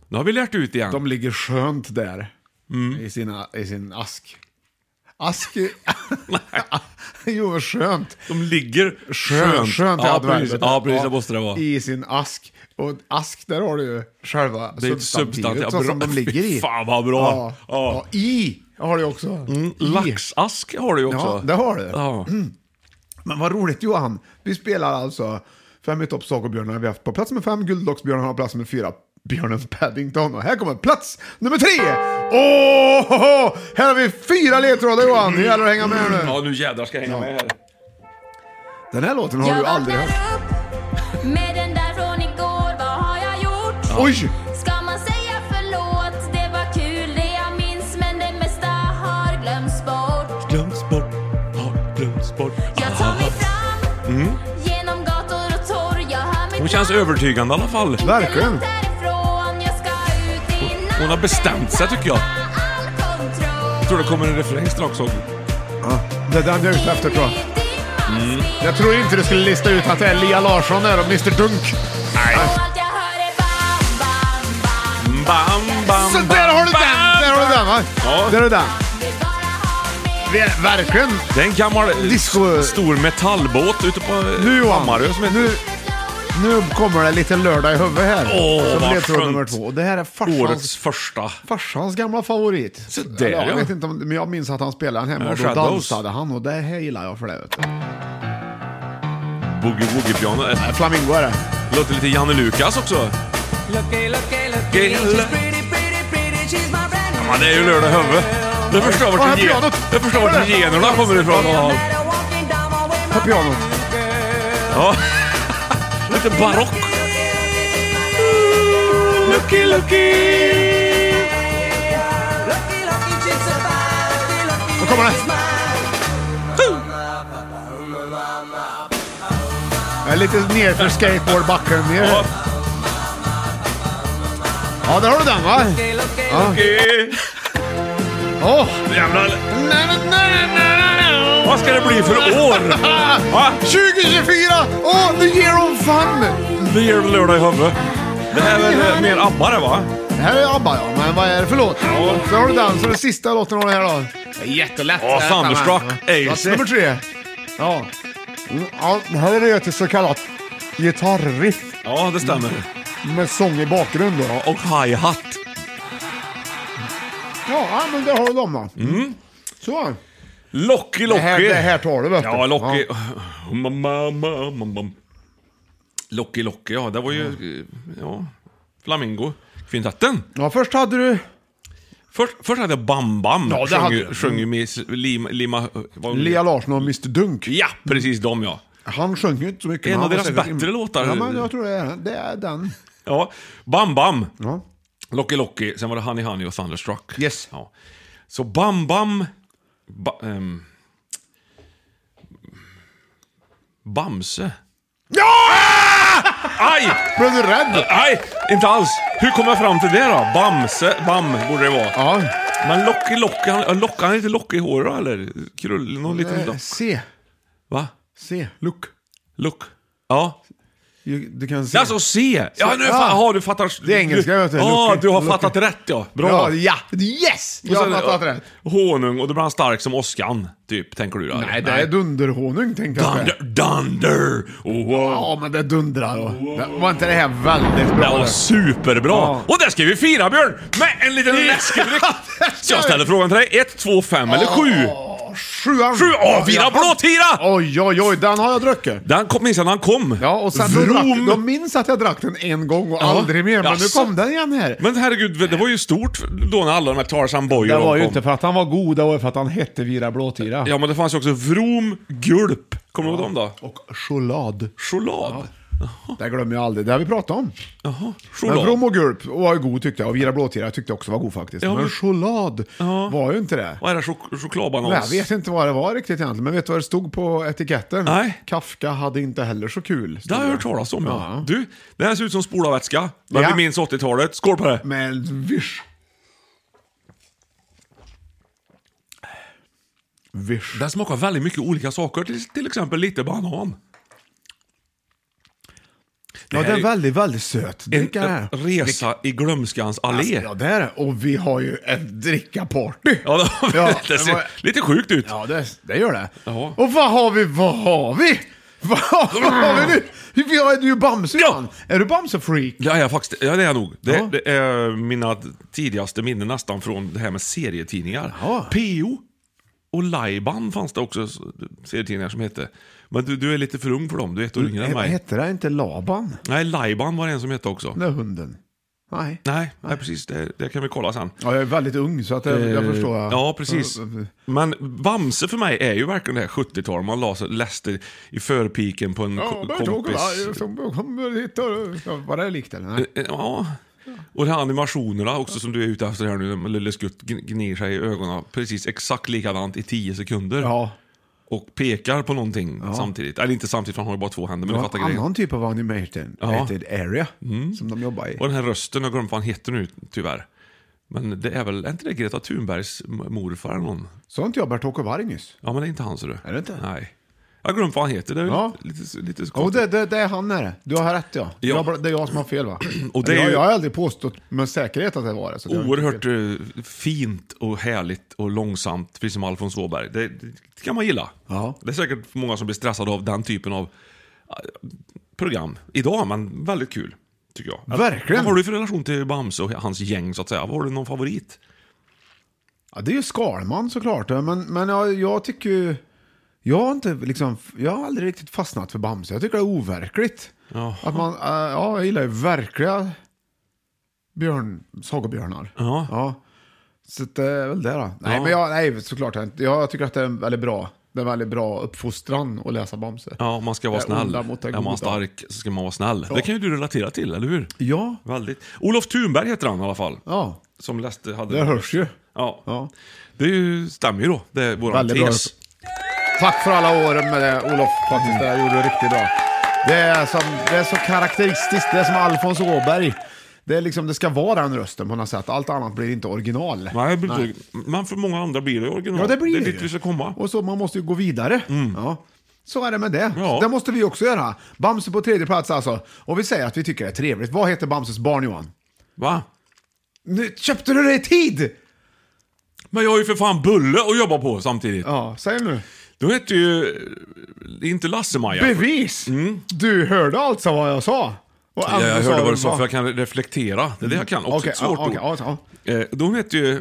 Nu har vi lärt ut igen.
De ligger skönt där.
Mm.
I, sina, I sin ask. Ask är- Jo, vad skönt.
De ligger
Skönt,
skönt.
skönt är
ja,
adverbet.
precis. ja, precis. Det måste det vara.
I sin ask. Och ask, där har du ju själva
Det är ett substantiv.
substantivet
Ja,
så
bra.
som de ligger i.
Fy fan, vad bra.
Ja.
Ja.
Ja, I har du också. I.
Laxask har du ju också.
Ja, det har Mm. du.
Ja.
Men vad roligt Johan. Vi spelar alltså fem i topp Sagobjörnarna vi har haft på plats nummer fem. Guldlocksbjörnarna har plats nummer fyra. Björnen Paddington. Och här kommer plats nummer tre. Åh, oh, här har vi fyra ledtrådar Johan. Nu gäller det att hänga med nu.
ja, nu jädrar ska jag hänga med här.
Den här låten har du aldrig hört.
upp med den där från igår. Vad har jag gjort?
Oj!
Ska man säga förlåt? Det var kul det jag minns, men det mesta har glömts bort.
Glöms bort, har glöms bort. Mm.
Jag tar mig fram genom gator och torg. Jag hör mitt
Hon känns övertygande i alla fall.
Verkligen.
namn därifrån. Jag ska ut i natten.
Hon har bestämt sig, tycker jag.
Tappa all kontroll.
Jag tror det kommer en refräng strax också.
Ja, det är den jag är ute efter tror jag.
Dimma
Mm.
Jag tror inte du skulle lista ut att det är Lia Larsson där och Mr Dunk.
Bam, bam,
Så där har du
bam,
den! Där har du den va?
Ja.
Där har du den. Ver- Verkligen.
Det är en gammal eh,
Disco-
s- stor metallbåt ute på eh,
Nu Johan.
Hammarö som heter...
Nu, nu kommer det lite lördag i huvudet här.
Åh,
som
vad
ledtråd
skönt.
nummer två. Och det här är
Årets
farsans,
första.
farsans gamla favorit.
Så där,
Eller,
ja.
jag vet inte om, men jag minns att han spelade den hemma
Ja,
och då
Shadows.
dansade han och det här gillar jag för det. Vet du.
Boogie-woogie-piano. Eh,
Flamingo är det.
Låter lite Janne Lukas också. Ja, det er är ju lördag i huvudet. Jag förstår
Åh, här
vart gen-
pianot!
jag förstår vart generna kommer ifrån. Ja.
På pianot.
Ja. Lite barock. Lucky, lucky.
Nu kommer det. Jag är lite ner för skateboardbacken. Ner.
Ja.
Ja, där har du den va?
Okej.
Åh!
Jävlar.
Na, na, na, na, na.
Vad ska det bli för år? Va?
2024! Åh, the year of fun!
Det ger väl lördag i huvudet. Det här är väl eh, mer ABBA det va?
Det här är ABBA ja, men vad är det för låt?
Ja.
Där har du den, så den sista låten har du här då. Det är jättelätt.
Ja, Thunderstruck,
Plats
Ace.
nummer tre. Ja. Mm, Ja, det här är det ett så kallat gitarriff
Ja, det stämmer.
med sång i bakgrund då.
Ja, Och hi-hat.
Ja, men där har du dem då.
Mm.
Så.
Locky,
Det
locky.
här, det här tar du vet du.
Ja, Locky. Mam, mam, mam, mam, mam. Locky, Locky, ja. Det var ju... eh, Ja. Flamingo. Kvintetten.
Ja, först hade du...
Först, först hade jag Bam Bam.
Ja, det
sjöng,
hade
ju-
du. Mm.
sjöng ju med Lima... Lima vad,
Lea Larsson och Mr Dunk.
Ja, precis de ja.
Han sjöng ju inte så mycket.
En
men
av
han var
deras
säkert-
bättre låtar.
Ja, men jag tror det är, det är den.
Ja. Bam Bam.
Ja.
Locky, Locky. Sen var det Honey, Honey och Thunderstruck.
Yes.
Ja. Så Bam Bam... Ba, ehm, Bamse. Ja! Aj!
Blev du rädd?
Nej, inte alls. Hur kom jag fram till det då? Bamse, Bam borde det vara.
Ja.
Men Locky Locky, han, lock, han är inte Locky i håret då, eller? Krull, någon liten
Eh,
lock.
Se.
Va?
Se. Look.
Look? Ja.
You- Du kan se.
Alltså C! Ja, nu fa-
Ja.
ja, du fattar.
Det är engelska, vet du.
Ja,
Locky,
du har
Locky.
fattat rätt ja. Bra.
Ja, ja. Yes! Jag har fattat rätt.
Honung, och då blir han stark som åskan, typ, tänker du då? eller?
Nej, det är dunderhonung tänkte jag.
Dunder! Dunder! Oh, Wow.
Ja, men det dundrar. då. Det- Var inte det här väldigt bra?
Det var
det?
superbra!
Ja.
Och det ska vi fira Björn! Med en liten läskedryck! Så jag ställer frågan till dig, 1, 2, 5 eller 7?
Sjuan.
7 A4 Blåtira!
Oj, oj, oj. Den har jag druckit.
Den kom, minns jag när han kom.
Ja, och sen då drack, de minns att jag drack den en gång och aldrig mer, men
Jaså?
nu kom den igen här.
Men herregud, det var ju stort då när alla de här Tarzan Boy
Det
och de
var ju
kom.
inte för att han var god, det var ju för att han hette Vira Blåtira.
Ja, men det fanns ju också Vroom, Gulp. Kommer du ihåg dem då?
Och choklad.
Choklad.
Det glömmer jag aldrig. Det har vi pratat om.
Jaha,
Men Brom
choklad.
och Gurp var ju god tyckte jag. Och Vira Blåtira tyckte jag också var god faktiskt.
Ja,
men
men-
choklad var ju inte det.
Vad är det? Chok- Chokladbanans?
Nej, jag vet inte vad det var riktigt egentligen, men vet du vad det stod på etiketten?
Nej.
Kafka hade inte heller så kul.
Det
stod
har jag hört talas om ja.
Ja.
Du, det här ser ut som spolarvätska. Men
Ja.
vi minns 80-talet. Skål på det!
Men visch. Visch.
Den smakar väldigt mycket olika saker, till, till exempel lite banan.
Ja,
här
den är
är-
väldigt, väldigt söt.
En,
Dricka det här. Alltså,
resa i glömskans allé.
Ja, det är det. Och vi har ju ett drickaparty.
Ja, det,
Ja,
det
det
ser
var-
lite sjukt ut.
Ja, det, det gör det.
Ja.
Och vad har vi, vad har vi? Vad har vi nu? Vi har, du är ju Bamse
Ja.
Johan. Är du Bamse-freak?
Ja, ja, faktiskt, ja, det är jag nog. Det,
Ja.
det är mina tidigaste minnen nästan från det här med serietidningar.
Ja.
PO och Lajban fanns det också s- serietidningar som hette. Men du, du är lite för ung för dem, du är Mm, ett år yngre än
Nej, vad
mig.
hette det? Inte Laban?
Nej, Lajban var det en som hette också.
Den där hunden? Nej.
Nej, nej precis. Det, det kan vi kolla sen.
Ja, jag är väldigt ung så att jag, jag
Eh,
förstår.
Ja, precis. Men Bamse för mig är ju verkligen det här 70-talet. Man la sig, läste i förpiken på en
Ja,
ko-
men tog varje
kompis.
som kommer hit och- Ja, Var det likt eller? Nej.
Eh, Ja. Och de här animationerna också som du är ute efter här nu, när Lille Skutt gn- gnir sig i ögonen. Precis exakt likadant i 10 sekunder.
Ja,
Och pekar på någonting samtidigt. Eller inte samtidigt, för han har ju bara två händer.
det
Men
var
du fattar
en
grejen. Mm.
annan typ av animated animated area som de jobbar i.
Och den här rösten, jag glömde vad han heter nu tyvärr. Men det är väl, är inte det Greta Thunbergs m- morfar eller någon?
Sa inte jag Bert-Åke Varg nyss?
Ja, men det är inte han ser du.
Är det inte?
Nej. Ja, Jag glömde vad han heter. Det är
Ja.
lite, lite så
Jo,
konstigt.
det, det, det är han är det. Du har rätt ja.
Ja.
Jag, bara- det är jag som har fel va?
Och det är
jag,
ju-
jag har aldrig påstått med säkerhet att det var det. Så det har jag inte
Oerhört
fel.
eh, fint och härligt och långsamt, precis som Alfons Åberg. Det, det kan man gilla.
Ja.
Det är säkert många som blir stressade av den typen av eh, program idag, men väldigt kul. Tycker jag.
Verkligen.
Vad har du för relation till Bamse och hans gäng så att säga? Har du någon favorit?
Ja, det är ju Skalman såklart. ja, Men, men jag, jag tycker ju... Jag har, inte, liksom, jag har aldrig riktigt fastnat för Bamse. Jag tycker det är overkligt.
Jaha.
Att man, eh, ja, jag gillar ju verkliga björn, sagobjörnar.
Ja.
Ja. Så att det är väl det då. Nej,
Ja.
men jag, nej, såklart inte. Jag, jag tycker att det är en väldigt bra, det är en väldigt bra uppfostran att läsa Bamse.
Ja, om man ska vara
Det
snäll.
onda mot det
Är man
goda.
stark så ska man vara snäll. Det kan ju du relatera till, eller hur?
Ja,
Väldigt. Olof Thunberg heter han i alla fall.
ja.
Som läste... Hade
det hörs ju.
Ja.
Ja.
Det är ju, stämmer ju då. Det är våran
Väldigt bra.
tes.
Tack för alla åren med det, Olof.
Mm.
Faktiskt, det gjorde du riktigt bra. Det är, som, det är så karaktäristiskt, det är som Alfons Åberg. Det, är liksom, det ska vara den rösten på något sätt, allt annat blir inte original.
Nej, det blir- men för många andra blir det ju original.
Ja, det blir
det.
det
är dit
ju.
vi ska komma.
Och så, man måste ju gå vidare. Ja. Så är det med det.
Mm. Ja.
Det måste vi också göra. Bamse på tredje plats alltså. Och vi säger att vi tycker det är trevligt. Vad heter Bamses barn Johan?
Va?
Nu köpte du det i tid!
Men jag har ju för fan Bulle att jobba på samtidigt.
Ja, säg nu.
Då heter ju... eh, Inte Lasse-Maja.
Bevis! Du hörde alltså vad jag sa. Och
Mm. Ja, Eh, jag
Anders
hörde vad du sa,
va?
för jag kan reflektera. Det är det jag kan. Också
Okej,
ett svårt
ja, okej,
ord.
ja,
Eh, De heter ju...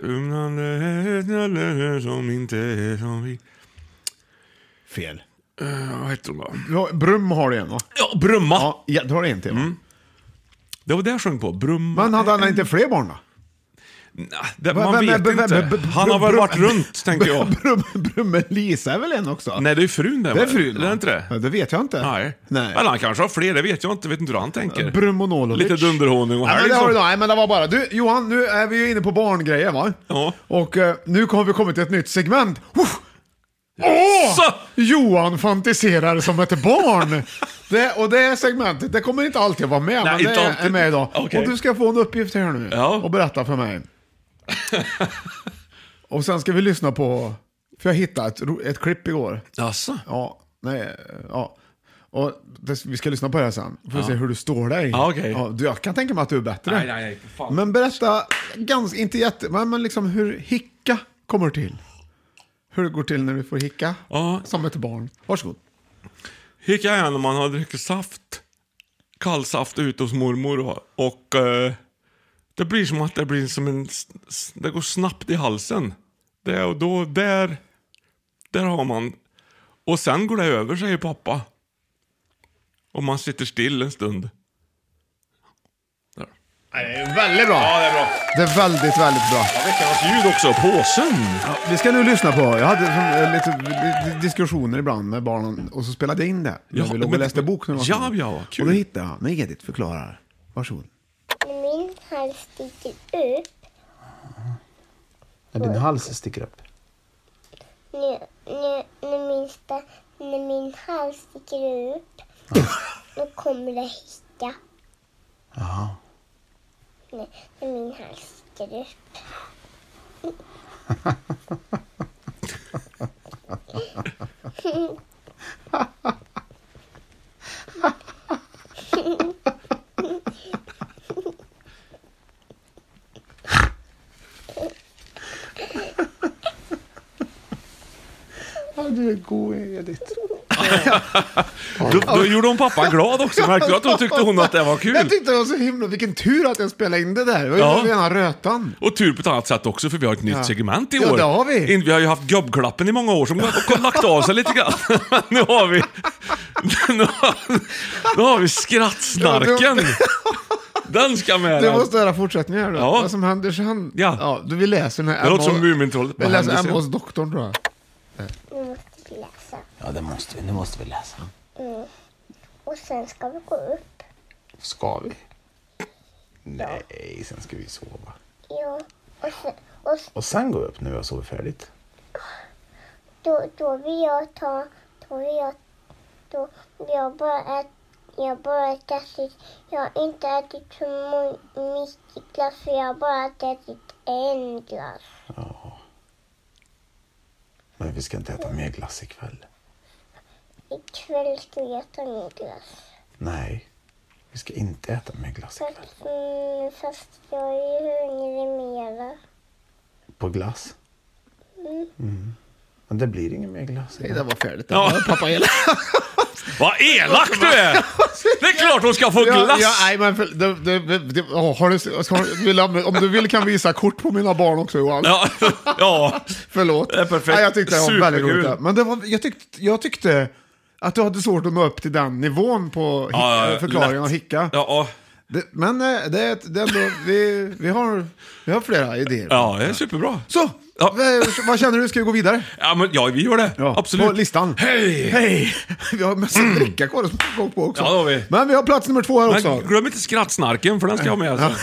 Som inte är som vi...
Fel.
Eh, Vad heter de då?
Ja, Brum har du en va?
Ja, Brumma!
Ja, ja du har en till va?
Det var det jag sjöng på. Brumma.
Men hade han inte fler barn då?
Nej, det,
Vem-
man
vem-
vet
vem- vem-
inte.
vem-
Han har väl
Brum-
varit runt, tänker jag.
Brum, Brumme Lisa är väl en också?
Nej, det är ju frun det.
det är
va?
frun. va?
Det är inte det?
Ja, det vet jag inte.
Nej.
Nej.
Eller han kanske har fler, det vet jag inte. Vet inte hur han tänker.
Brumonolovic.
Lite dunderhonung och
Nej, men
helg.
det har du
så-
då. Nej, men det var bara. Du, Johan, nu är vi ju inne på barngrejer va?
Ja.
Och eh, nu kommer vi kommit till ett nytt segment. Uff!
Så!
Johan fantiserar som ett barn. Det, och det här segmentet, det kommer inte alltid vara med,
Nej,
men
inte
det är
alltid.
med idag.
Okej.
Och du ska få en uppgift här nu
Ja.
och berätta för mig. och sen ska vi lyssna på, för jag hittade ett, ro- ett klipp igår.
Jaså?
Ja, nej, ja. Och det, vi ska lyssna på det här sen, får vi se hur du står dig.
Ja, okej.
du, jag kan tänka mig att du är bättre.
Nej, nej, nej, för fan.
Men berätta, ganska, inte jätte, men, men liksom hur hicka kommer till. Hur det går till när du får hicka,
Ja.
som ett barn. Varsågod.
Hickar jag när man har druckit saft. Kall saft ute hos mormor och, och eh, det blir som att det blir som en, s- s- det går snabbt i halsen. Det, och då, där, där har man. Och sen går det över säger pappa. Och man sitter still en stund. Där.
Väldigt bra.
Ja, det är bra.
Det är väldigt, väldigt bra.
Veckans ljud också, påsen.
Vi ska nu lyssna på, jag hade som, eh, lite lite diskussioner ibland med barnen och så spelade jag in det.
Ja,
Ja, vi låg och
men-
läste bok. när vi var
Ja,
små.
ja, vad kul.
Och då hittade jag, när Edith förklarar. Varsågod.
Min hals sticker upp.
När din hals sticker upp.
När, när, när, min, sta- när min hals sticker upp, då kommer det hicka.
Jaha.
När, när min hals sticker upp.
Ja, du är god Edith.
Då, då gjorde hon pappa glad också. Märkte du att hon tyckte hon att det var kul?
Jag tyckte det var så himla, vilken tur att jag spelade in det där. Det var ju
Ja.
rena rötan.
Och tur på ett annat sätt också, för vi har ett nytt segment i år.
Ja, det har vi.
In- Vi har ju haft gubbklappen i många år som har lagt av sig lite grann. nu har vi... nu, har, nu har vi skrattsnarken. Den ska med.
Du
här.
måste höra fortsättningen här då.
Ja.
Vad som händer sen.
Ja.
du vill läsa den här.
Det låter
Emma-
som Mumintrollet.
Vi
Vad
läser
händer sen?
Emma hos doktorn tror jag.
Nu måste vi läsa.
Ja, det måste vi. Nu måste vi läsa.
Och sen ska vi gå upp.
Ska vi? Nej, sen ska vi sova.
Ja. Och, sen, och s-
Och sen går vi upp när vi har sovit färdigt.
då, då vill jag ta... Då vill jag... Då, jag bara ät, jag bara ätit... Jag har inte ätit så må- mycket glass, för jag har bara ätit en glass.
Men vi ska inte äta mer glass ikväll.
ikväll ska jag äta myglas.
Nej, vi ska inte äta mygglass ikväll.
Fast, mm, fast jag är ju hungrig mera.
På glass?
Mm.
Mm. Men det blir ingen mer glass.
Nej, det var färdigt.
Ja.
Pappa elak.
Vad elak du är! Det är klart hon ska få
Ja,
glass!
ja, nej, men för, det, det, det, det, åh, har du, ska, vill, jag- om du vill kan vi visa kort på mina barn också Johan.
Ja, ja.
Förlåt.
Det är perfekt.
Nej, jag tyckte det var väldigt
Superkul.
roligt. där. Men det var, jag, tyckte, jag tyckte att du hade svårt att nå upp till den nivån på hick,
Ja, ja,
förklaringen
lätt.
av hicka.
Ja, ja.
Det, men eh, det, är ett- det är ändå, vi, vi, har, vi har flera idéer.
ja, det är superbra.
Så,
Ja.
vad- vad känner du? Ska vi gå vidare?
Ja, men, ja vi gör det. Absolut.
På listan.
Hej!
Hej! Vi har massa dricka kvar att gå på också.
Ja, det har vi.
Men vi har plats nummer två här också.
Men glöm inte skrattsnarken, för den ska jag ha med. Alltså.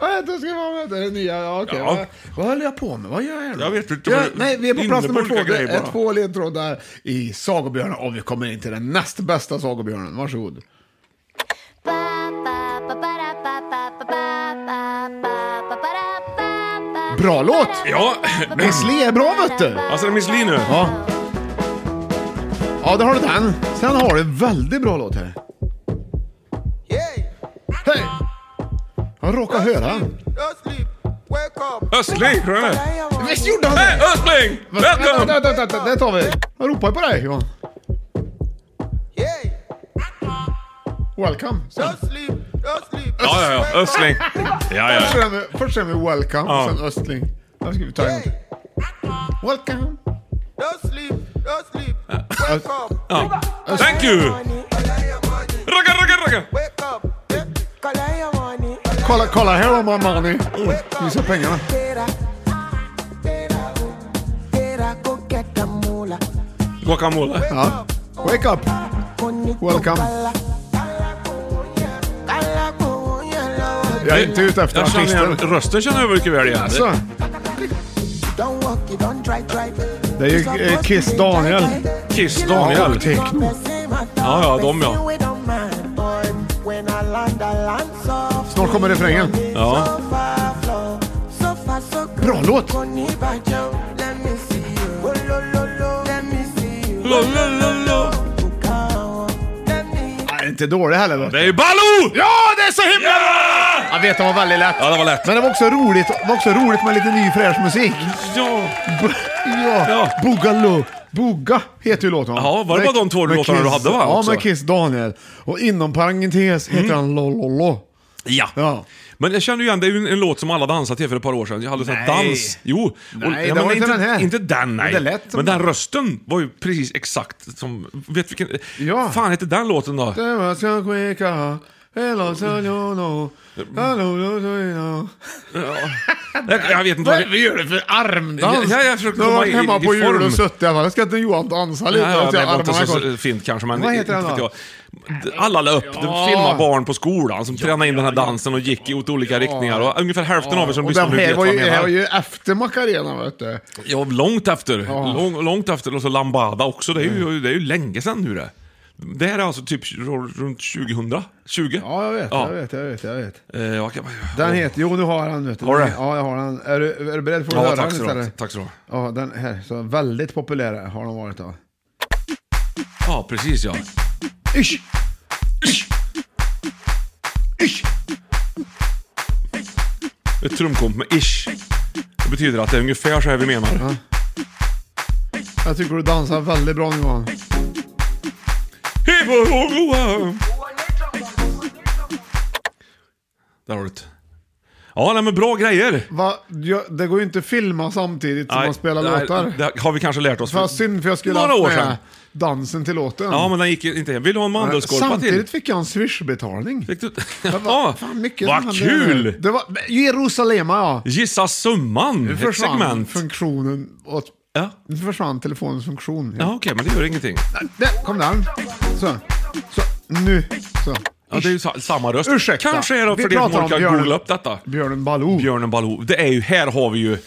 Ja, det ska vara med. Det är det nya. Ja, okej.
Ja.
Vad, vad höll jag på med? Vad gör jag nu?
Jag vet inte.
Ja, nej, vi är på
Inne
plats
på
nummer två.
olika
Det
grejer
är
bara.
två ledtrådar i Sagobjörnen. Och vi kommer in till den näst bästa Sagobjörnen. Varsågod. Bra låt!
Ja,
Miss Li är bra vet du.
alltså det är Miss Li nu.
Ja. Ja, där har du den. Sen har du en väldigt bra låt här.
Yeah,
Hej! Han råkar höra.
don't sleep. Wake up.
Östling, tror jag det är.
Visst gjorde han
Hej,
det?
Östling!
Vänta, vänta,
Välkommen!
vänta, vänta, det tar vi. Han ropar ju på dig Johan.
Yeah,
Welcome.
don't sleep. Don't sleep.
Ja, ja, ja. Östling. Ja,
Först
ja.
är det- Först är det med Welcome,
Ja.
sen Östling. Här ska vi ta en till. Welcome.
Don't sleep. Don't sleep. Wake up.
ja. Uh, oh, Thank you! Ragga, ragga, ragga!
Wake up.
Kolla, kolla här har man Armani. Visa pengarna.
Guacamole.
Ja. Wake up. Welcome. Jag är inte ute efter
Jag känner igen,
artister.
rösten känner jag mycket väl igen.
Alltså,
Don't walk it, don't try, try.
det är ju eh, Kiss Daniel.
Kiss
Ja,
Daniel.
och techno.
Ja, ja, de ja.
Snart kommer refrängen.
Ja.
Bra låt.
Lo, lo, lo, lo.
Nej, inte dålig heller. va?
Det är ju Baloo!
Ja, det är så himla...
Ja!
Jag vet, det var väldigt lätt.
Ja, det var lätt.
Men det var också roligt, det var också roligt med lite ny fräsch musik.
Ja.
B- ja,
Ja.
Boogaloo. Booga heter ju låten.
Ja, var det bara de två
Med
låtarna du
Kiss-
hade, va,
Ja,
också? Mm.
med Kiss Daniel. Och inom parentes heter han Lololo.
Ja.
Ja.
Men jag känner ju igen, det är ju en, en låt som alla dansade till för ett par år sedan. Jag hade sån här
Nej.
dans. Jo.
Nej,
Och-
det
ja,
var
men
inte den här.
Inte den, nej.
Men det lät som-
men den rösten var ju precis exakt som... Vet vilken...
Ja.
fan heter den låten då?
Det var så skicka, hela Saliono, hallå, Saliono.
Jag, jag vet inte
Vad
vad...
är det vi gör det för armdans?
Ja, jag
Du
försöker
har
komma
varit
i-
hemma
i
på jul
form.
och suttit där. va? Ska inte Johan dansa lite?
Nej, ja,
Och så
det var inte
armarna
så,
kors.
så fint kanske, men...
Vad heter den
inte
då?
vet jag. Alla la upp,
Ja.
filma barn på skolan som tränade in den här dansen och gick i åt olika riktningar. Och ungefär hälften av er som
Och
lyssnar
den
nu
här
vet
var
vad jag
ju, här var
menar.
ju efter Macarena vet du.
Ja, långt efter. Lång, långt efter. Och så Lambada också. Det är ju,
Mm.
det är ju länge sedan nu det. Det här är alltså typ r- runt 2000? 20?
Ja, jag vet,
Ja.
jag vet, jag vet, jag vet.
Eh, jag kan...
Den heter, jo nu har jag den vet du.
Har du?
Ja, jag har den. Är du, är du beredd på att
Ja,
höra
tack
den
så du ha.
istället?
Tack så du ha.
Ja, den här. Så väldigt populär har de varit då.
Ja, precis ja.
Ish!
Ish!
Ish!
Ett trumkomp med ish. Det betyder att det är ungefär så här vi menar.
Jag tycker du dansar väldigt bra nu Johan.
Hej på Rågoa! Där har du det. Ja, nej, men bra grejer.
Va? Ja, det går ju inte att filma samtidigt som man spelar
nej,
låtar.
Det har vi kanske lärt oss.
För synd för jag skulle
Några
haft
år
med
sedan.
dansen till låten.
Ja, men den gick inte hem. Vill du ha en mandelskorpa till?
Samtidigt fick jag en swishbetalning.
Fick du...
Det var-
Ja,
fan, mycket som
vad
hände där.
kul!
Det var Jerusalema ja.
Gissa summan!
Nu
Ett
försvann
segment.
funktionen. Och,
Ja,
nu försvann telefonens funktion.
ja okej, men det gör ingenting.
Där kom den. Så. Så. Nu. Så.
Ja, det är ju sa- samma röst.
Ursäkta.
Kanske är det
Vi
för det som
pratar om
orkar
Björn-
googla upp detta.
Björnen Baloo.
Björnen Baloo. Det är ju, här har vi ju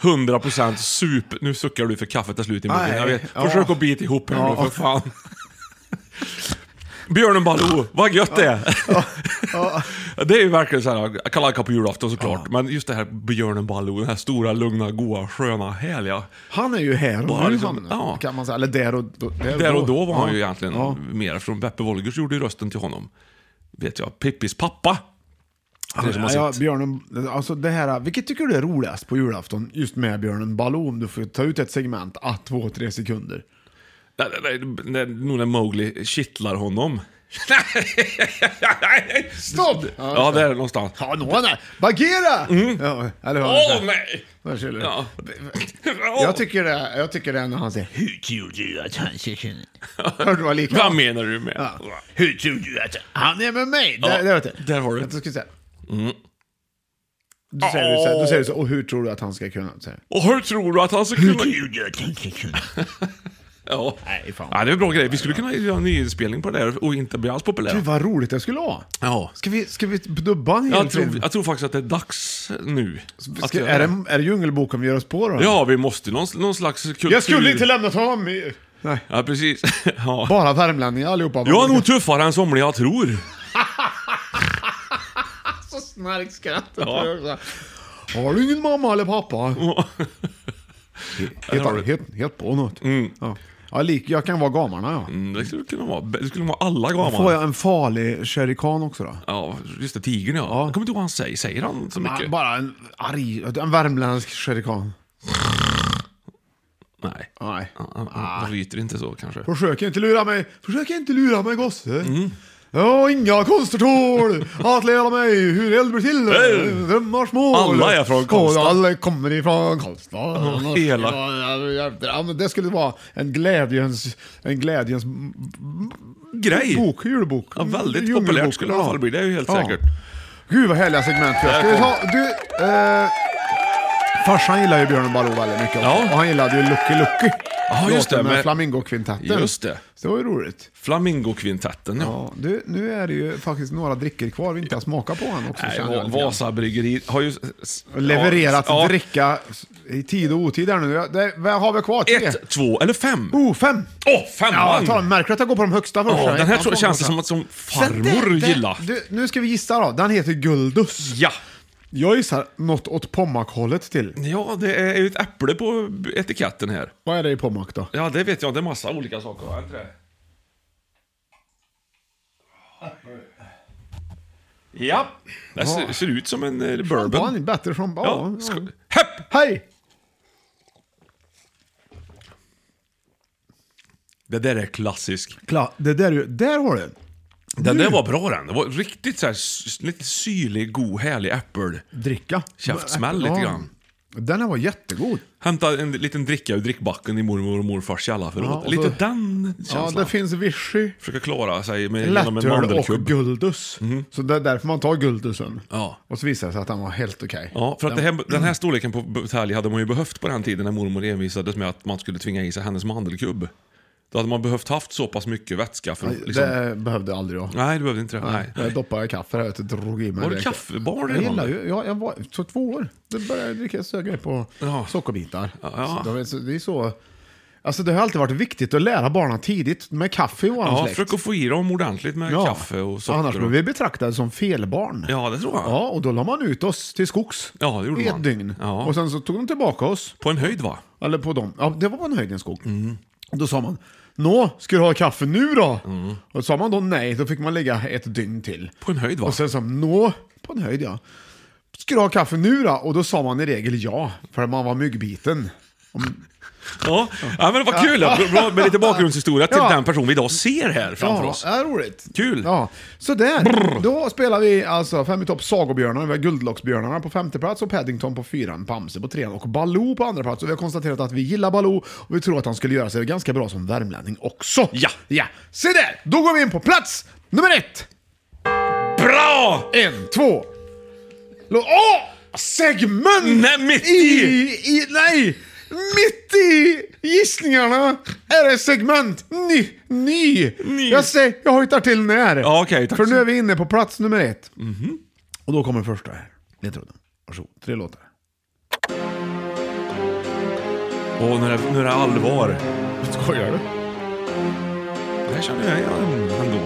100% super... Nu suckar du för kaffet är slut i munnen.
Nej,
Jag vet.
ja.
Försök att bita ihop här
Ja.
nu, för fan. Björnen Baloo, vad gött det är! det är ju verkligen såhär, kalanka på julafton såklart, men just det här Björnen Baloo, den här stora, lugna, goa, sköna, härliga.
Han är ju här och
Bara
nu,
liksom-
liksom,
ja.
kan man säga. Eller där och, då-
Där och då var han
Ja.
ju egentligen
Ja.
mer, från Beppe Wolgers gjorde ju rösten till honom. Vet jag, Pippis pappa. Det är det som har
Ja,
sett.
björnen, alltså det här, vilket tycker du är roligast på julafton just med björnen Baloo? Om du får ta ut ett segment, ah, två, tre sekunder.
Nej, nej, nej, nej, Nog när Mowgli kittlar honom.
Stopp!
Ja, där någonstans.
Ja, någon där. Bagheera! Ja, eller hur han
Åh
säger.
nej!
Där ser du.
Ja.
Jag tycker det, jag tycker det är när han säger Hur tror du att han ser ut? Hörde du vad lika?
Vad menar du med?
Ja. Hur tror du att han är med mig? Där, där, vet du.
Där har du.
Jag ska säga. Då säger du så här, då säger du så här, och hur tror du att han ska kunna? Så här.
Och hur tror du att han ska kunna... Ja.
Nej, fan.
ja, det är en bra grej. Vi skulle kunna göra en nyinspelning på det där och inte bli alls
Gud
populära.
vad roligt det skulle vara.
Ja.
Ska vi, ska vi dubba en hel
Jag
film?
tror, jag tror faktiskt att det är dags nu.
Ska,
Att göra
är, det, är det Djungelboken vi gör oss på då?
Ja, vi måste någon, någon slags kultur...
Jag skulle inte lämnat honom! i- Nej.
Ja, precis. Ja.
Bara värmlänningar allihopa.
Jag är nog tuffare än somliga tror.
så snarkskratt.
Ja. Mm.
Har du ingen mamma eller pappa?
har du.
Helt, helt, helt på något. Ja. Ja, lik, jag kan vara gamarna ja.
Mm, Det skulle kunna vara, det skulle kunna vara alla
Får
gamla.
jag en farlig sherikan också då?
Ja, just det, tigern ja. Jag kommer inte ihåg vad han säger. Säger han så mycket?
Bara en arg, en värmländsk sherikan.
Nej.
Nej.
Han- Han
Ah.
han ryter inte så kanske.
Försök inte lura mig, försök inte lura mig gosse.
Mm.
Jag har inga konster tål att lära mig hur eld blir till.
Nej.
Drömmars mål.
Alla är från Karlstad.
Och alla kommer ifrån Karlstad.
hela.
Ja, men Det skulle vara en glädjens, en glädjens
Grej!
bok, julbok.
Ja, väldigt
Djungelbok.
populärt skulle det i alla fall bli, det är ju helt säkert.
Gud vad härliga segment vi har. Ska vi ta, du, eh, farsan gillar ju Björn Baloo väldigt mycket också.
Ja.
Och han gillade ju Lucky Lucky.
Ja, just det,
Låten Med,
med-
Flamingokvintetten.
Just det.
Så det var ju roligt.
Flamingokvintetten ja.
Ja, du, nu är det ju faktiskt några drickor kvar vi inte har smakat på än också.
Nej,
känner jag
Va-
lite grann.
Vasabryggeriet har ju... s-
Levererat
ja,
dricka i tid och otid här nu. Jag- Det, vad har vi kvar? Tre?
Ett, två eller fem.
Oh, fem!
Åh, femman!
Ja, jag tar den. Märker du att jag går på de högsta först?
Ja, den här
Jag
tror,
får
känns det
den
som att som farmor
Sen det- det-
gillar.
Du, nu ska vi gissa då. Den heter Guldus.
Ja.
Jag gissar något åt Pommakhållet till.
Ja, det är ju ett äpple på etiketten här.
Vad är det i Pommac då?
Ja, det vet jag. Det är massa olika saker, va? Är inte det? Ja, det ser, ser ut som en eh, bourbon.
Champagne, bättre champagne.
Ja,
Ja, ja.
sk- Hepp!
Hej!
Det där är klassisk.
Kla, det där, är ju- där har du.
Den där var bra den. Det var riktigt så här, s- lite syrlig, god, härlig äppel.
Dricka.
Käftsmäll lite grann.
Den här var jättegod.
Hämta en liten dricka ur drickbacken i mormor och morfars källarförråd.
Ja, och
lite
så-
den
Ja,
känslan.
det finns Vichy,
Försöka klara sig med, Eh, genom en
lättöl och
mandelkubb. Mhm.
Guldus. Så det är därför man tar Guldusen.
Ja.
Och så visar det sig att den var helt okej.
Ja, för att det här, den här storleken på butelj hade man ju behövt på den tiden när mormor envisades med att man skulle tvinga i sig hennes mandelkubb. Då hade man behövt haft så pass mycket vätska för att
Nej,
liksom...
Det behövde aldrig jag.
Nej, du behövde inte det. Nej.
Jag doppade kaffe här ute och drog i mig.
Var du
det.
kaffebarn
Jag
redan?
gillar ju, ja, jag var så två år. Då började jag dricka söga på sockerbitar.
Ja.
Så det, så det är så... Alltså det har alltid varit viktigt att lära barnen tidigt med kaffe i våran
Ja,
släkt.
försök att få i dem ordentligt med kaffe och socker.
Annars blir
och...
vi betraktade som felbarn.
Ja, det tror jag.
Ja, och då la man ut oss till skogs.
Ja, det gjorde
I ett
man.
dygn.
Ja.
Och sen så tog de tillbaka oss.
På en höjd va?
Eller på dem. Ja, det var på en höjdens skog. Och Då sa man, Nå, ska du ha kaffe nu då? Och Och sa man då nej, då fick man ligga ett dygn till.
På en höjd va?
Och sen sa man, nå, på en höjd ja. Ska du ha kaffe nu då? Och då sa man i regel ja, för man var myggbiten.
Ja. ja, men vad kul! Bra- Bra med lite bakgrundshistoria till
Ja.
den person vi idag ser här framför oss.
Ja, det är roligt.
Kul.
Ja, så där. Då spelar vi alltså fem i topp Sagobjörnarna, vi har Guldlocksbjörnarna på femte plats och Paddington på fyran, Bamse på trean och Baloo på andra plats. Och vi har konstaterat att vi gillar Baloo och vi tror att han skulle göra sig ganska bra som värmlänning också.
Ja.
Ja, se där! Då går vi in på plats nummer ett.
Bra!
En, två. Lå- Åh! Segment!
Nej, mitt i.
i! Nej! Mitt i gissningarna är det segment ny, ny.
Ny.
Jag säger, jag hojtar till när.
Ja, okej, tack
För
så- Mhm.
nu är vi inne på plats nummer ett. Och då kommer första här. Ledtråden. Varsågod, tre låtar.
Åh, nu är det, nu är det allvar.
Skojar du?
Det här känner jag igen ändå.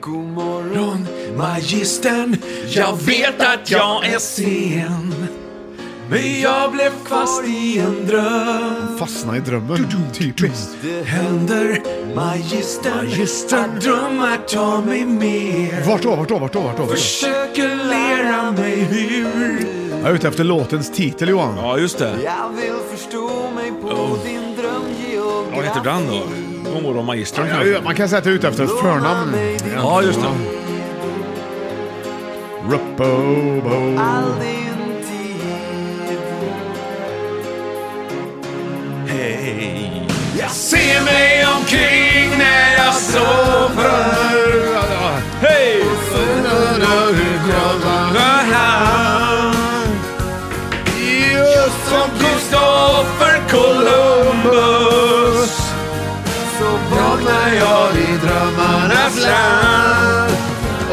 God morgon, magistern. Jag vet att jag är sen. Men jag blev fast i en dröm.
Fastna i drömmen. Typiskt.
Det händer, magistern, att drömmar tar mig med.
Vart då, vart då, vart då, vart då?
Försöker lära mig hur.
Jag är ute efter låtens titel Johan.
Ja, just det.
Jag vill förstå mig på din drömgeografi.
Vad heter den då? God morgon magistern
Ja, Man kan säga att jag är ute efter ett förnamn.
Ja, just det.
Rupobo.
All din tid. Hej. Jag ser mig omkring när jag sover.
Hej!
Undrar hur kollar här. Just som Kristoffer Columbus. Så vaknar jag i drömmarnas land.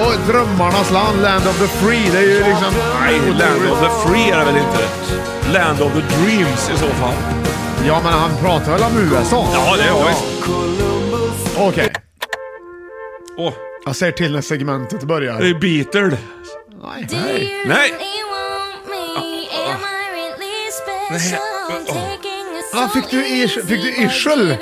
Och drömmarnas land, Land of the Free. Det är ju liksom...
Nej, Land of the Free är det väl inte? Land of the Dreams i så fall.
Ja, men han pratar väl om USA?
Ja, det har visst.
Okej.
Åh,
Jag säger till när segmentet
det
börjar.
är Beatle.
Nej.
Nej.
Nej. ah,
Ah, fick du irs- fick du yrsel?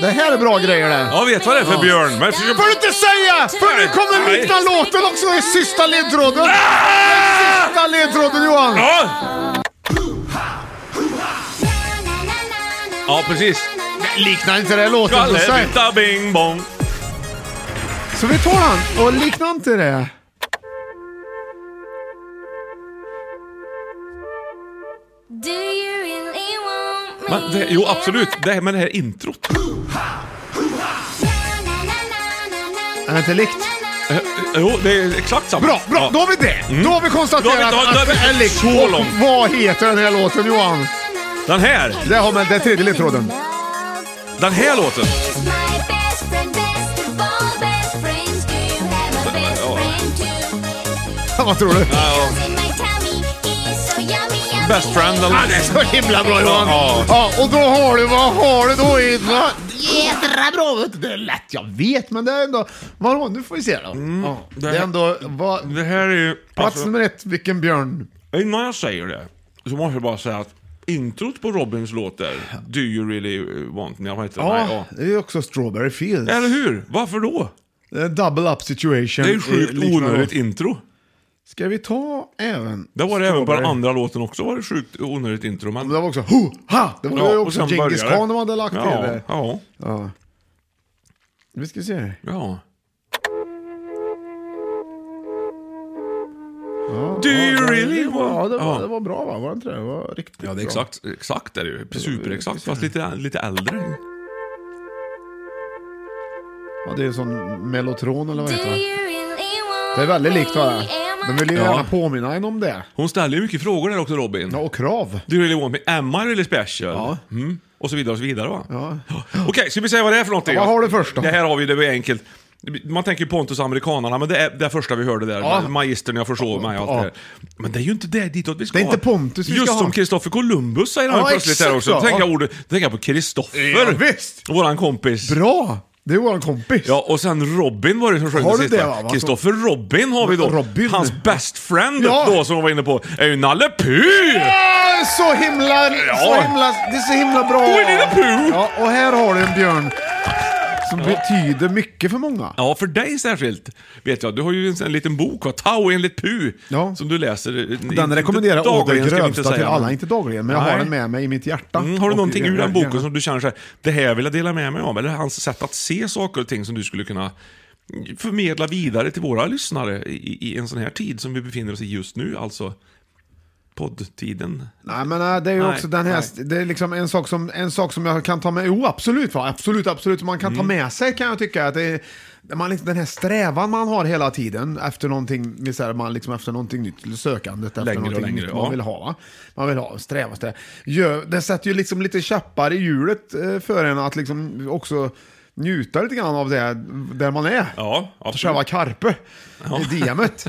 Det här är bra grejer det.
Jag vet vad det är för björn. Men
Det får du inte säga! För nu kommer
Nej.
mitten av låten också. Det är sista ledtråden. Sista ledtråden Johan.
Ah! Ja! Ja, precis.
Liknar inte det här låten för sig?
Gallerbytta bing bong.
Så vi tar han och liknar inte det.
Men det, jo, absolut. Det här med det här introt.
Är det inte likt?
Eh, eh, Jo, det är exakt samma.
Bra, bra.
Ja.
Då har vi det.
Mm.
Då har vi
Då har
konstaterat
vi- då har- då har
att det
vi-
är likt.
så långt.
Vad heter den här låten Johan?
Den här.
Det har med det är tredje ledtråden.
Den här låten.
Vad tror du?
Best friend. eller-
Ja, det är så himla bra Johan!
Ja,
Ja, och då har du, vad har du då i... va? Jädra bra! vet du. Det är lätt, jag vet, men det är ändå... Vadå, nu får vi se då. ja, det,
Mm, det
är
här-
ändå... Vad,
Det här är ju...
plats
Alltså,
nummer ett, vilken björn?
innan jag säger det så måste jag bara säga att introt på Robins låt där, Do you really want me? Vad heter den?
Ja,
Nej,
det är ju också Strawberry Fields.
ja. Eller hur? Varför då?
Det är en double up situation.
Det är ju sjukt
Liknande.
onödigt intro.
Ska vi ta även...
Det var det även på den
Strawberry?
andra låten också var det sjukt onödigt intro. Men...
Men Det var också ho, ha! Det var
Ja,
ju
och
också
sen
Djingis
började det.
Khan de hade lagt
ja,
i det.
Ja,
Ja. Vi ska se.
ja. Do you really want...
Ja, det var,
Ja.
det var bra va? Var det inte det? Det var riktigt
Ja, det är
bra.
exakt, exakt är det ju. Superexakt, fast lite, lite äldre.
Ja, det är sån mellotron eller vad heter det? Det är väldigt likt va? De vill ju
Ja.
gärna påminna en om det.
Hon ställer ju mycket frågor där också Robin.
Ja, och krav.
Do you really want me? Am I really special?
Ja.
Mm. Och så vidare och så vidare va?
Ja.
Okej, ska vi säga vad det är för någonting?
Ja, vad har du först då?
Det här har vi, det är enkelt. Man tänker ju Pontus och amerikanarna, men det är det är första vi hörde där.
Ja.
Magistern, jag försov mig och allt
Ja.
det där. Men det är ju inte det ditåt vi ska.
Det är inte Pontus vi
Just
ska ha.
som Kristoffer Columbus säger han
Ja,
ju plötsligt
exakt
här också. Då
så.
tänker jag
Ja.
ordet, då tänker jag på Kristoffer.
Ja, visst.
Våran kompis.
Bra! Det är vår kompis.
Ja, och sen Robin var det som sjöng
Har du
det
det, va?
sista.
Va?
Kristoffer Robin har vi då.
Robin.
Hans best friend
Ja.
då, som hon var inne på, är ju Nalle Puh!
Ah, Så himla, så
Ja.
himla, det är så himla bra.
Winnie the Pooh.
Ja, och här har du en björn som betyder mycket för många.
Ja, för dig särskilt vet jag. Du har ju en, en liten bok, va? Tao enligt Pu,
Ja.
som du läser.
Den
Inte
rekommenderar å det
dagligen, ska vi inte
grövsta
säga,
till
men-
alla. Inte dagligen, men jag har
Nej.
den med mig i mitt hjärta.
Mm, har du
Och
någonting
i-
ur den
gärna.
boken som du känner så här, det här vill jag dela med mig av? Eller hans sätt att se saker och ting som du skulle kunna förmedla vidare till våra lyssnare i, i en sån här tid som vi befinner oss i just nu, alltså poddtiden.
Nej men äh, det är ju
Nej,
också den här,
nej.
det är liksom en sak som, en sak som jag kan ta med, jo absolut va, absolut, absolut, man kan ta
Mm.
med sig kan jag tycka. Att det är, man, liksom- den här strävan man har hela tiden efter någonting, med så här, man liksom efter någonting nytt, sökandet efter
Längre och
någonting
längre,
nytt
ja.
man vill ha. Va? Man vill ha, sträva efter det. Gör, det sätter ju liksom lite käppar i hjulet eh, för en att liksom också njuta lite grann av det där man är.
Ja,
Själva
absolut.
karpe, i DMet.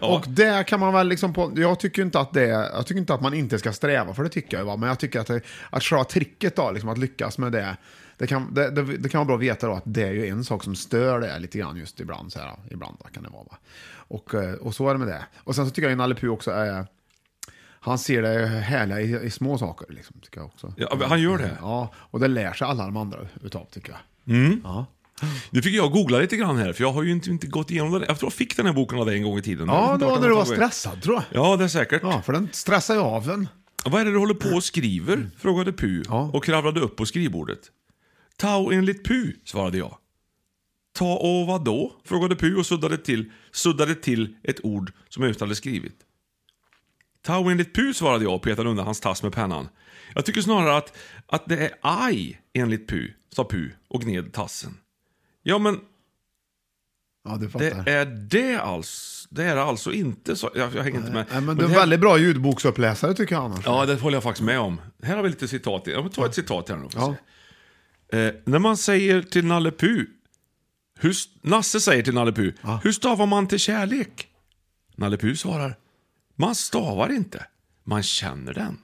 Och det kan man väl liksom på, jag tycker inte att det, jag tycker inte att man inte ska sträva för det tycker jag ju, va, men jag tycker att, det, att själva tricket då, liksom att lyckas med det, det kan, det, det, det kan vara bra att veta då att det är ju en sak som stör det lite grann just ibland. Så här, ibland kan det vara. Va? Och, eh, och så är det med det. Och sen så tycker jag ju Nalle Puh också är... Han ser det härliga i, i små saker. Liksom, tycker jag också.
Ja, men han gör det.
Ja, och det lär sig alla de andra utav tycker jag.
Mm. Nu fick jag googla lite grann här, för jag har ju inte, inte gått igenom den. Jag tror jag fick den här boken av dig en gång i tiden. Jag vet
Ja,
inte
det var
vart
när
den
du
har
var
tagit.
stressad tror jag.
Ja, det är säkert.
Ja, för den stressar ju av en.
Vad är det du håller på och
Mm.
skriver? Frågade Pu och kravlade upp på skrivbordet. Tao enligt Pu, svarade jag. Ta och vadå? Frågade Pu och suddade till, suddade till ett ord som jag just hade skrivit. Tao enligt Pu, svarade jag och petade undan hans tass med pennan. Jag tycker snarare att, att det är aj enligt Pu, sa Pu och gned tassen. Ja, men
Ja, du fattar.
det är det alltså. Det är det alltså inte, så, jag, jag hänger inte med.
Nej, men du
det
är
här-
väldigt bra ljudboksuppläsare tycker jag annars.
Ja, det håller jag faktiskt med om. Här har vi lite citat. Jag vill ta ett citat här nu. Ja. Eh, när man säger till Nalle Puh, hur, s- Nasse säger till Nalle Puh, hur stavar man till kärlek? Nalle Puh svarar, man stavar inte, man känner den.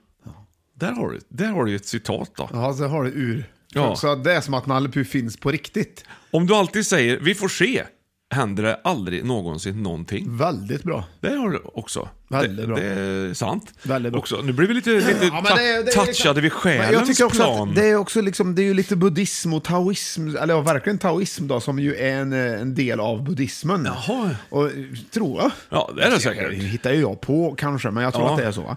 Där, har du, där har du ett citat då.
Ja, så har du ur.
Ja.
Så det är som att Nalle Puh finns på riktigt.
Om du alltid säger, vi får se, händer det aldrig någonsin någonting.
Väldigt bra.
Det har du också.
Väldigt
det,
bra.
det är sant.
Väldigt bra.
Också, nu blir vi lite, lite
Ja, men det är- det är- liksom-
ta- touchade vid
Men jag
själens
tycker också
plan.
att det är också liksom, det är ju lite buddhism och taoism, eller ja, verkligen taoism då, som ju är en, eh, en del av buddhismen. Jaha. Och, eh, tror jag.
Ja, det är det
Det
säkert.
hittar ju jag på kanske, men jag tror
Ja.
att det är så. Va?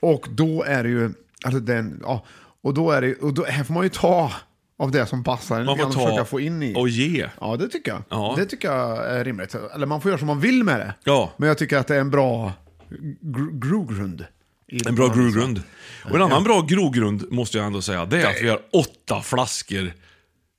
Och då är det ju, alltså den, ja, och då är det ju- och då, här får man ju ta av det som passar en
Man får
och
ta
försöka få in i.
och ge.
Ja, det tycker jag.
Ja.
Det tycker jag är rimligt. Eller man får göra som man vill med det.
Ja.
Men jag tycker att det är en bra gr- grogrund. i-
En bra grogrund. Och en annan bra grogrund måste jag ändå säga, det är att vi har åtta flaskor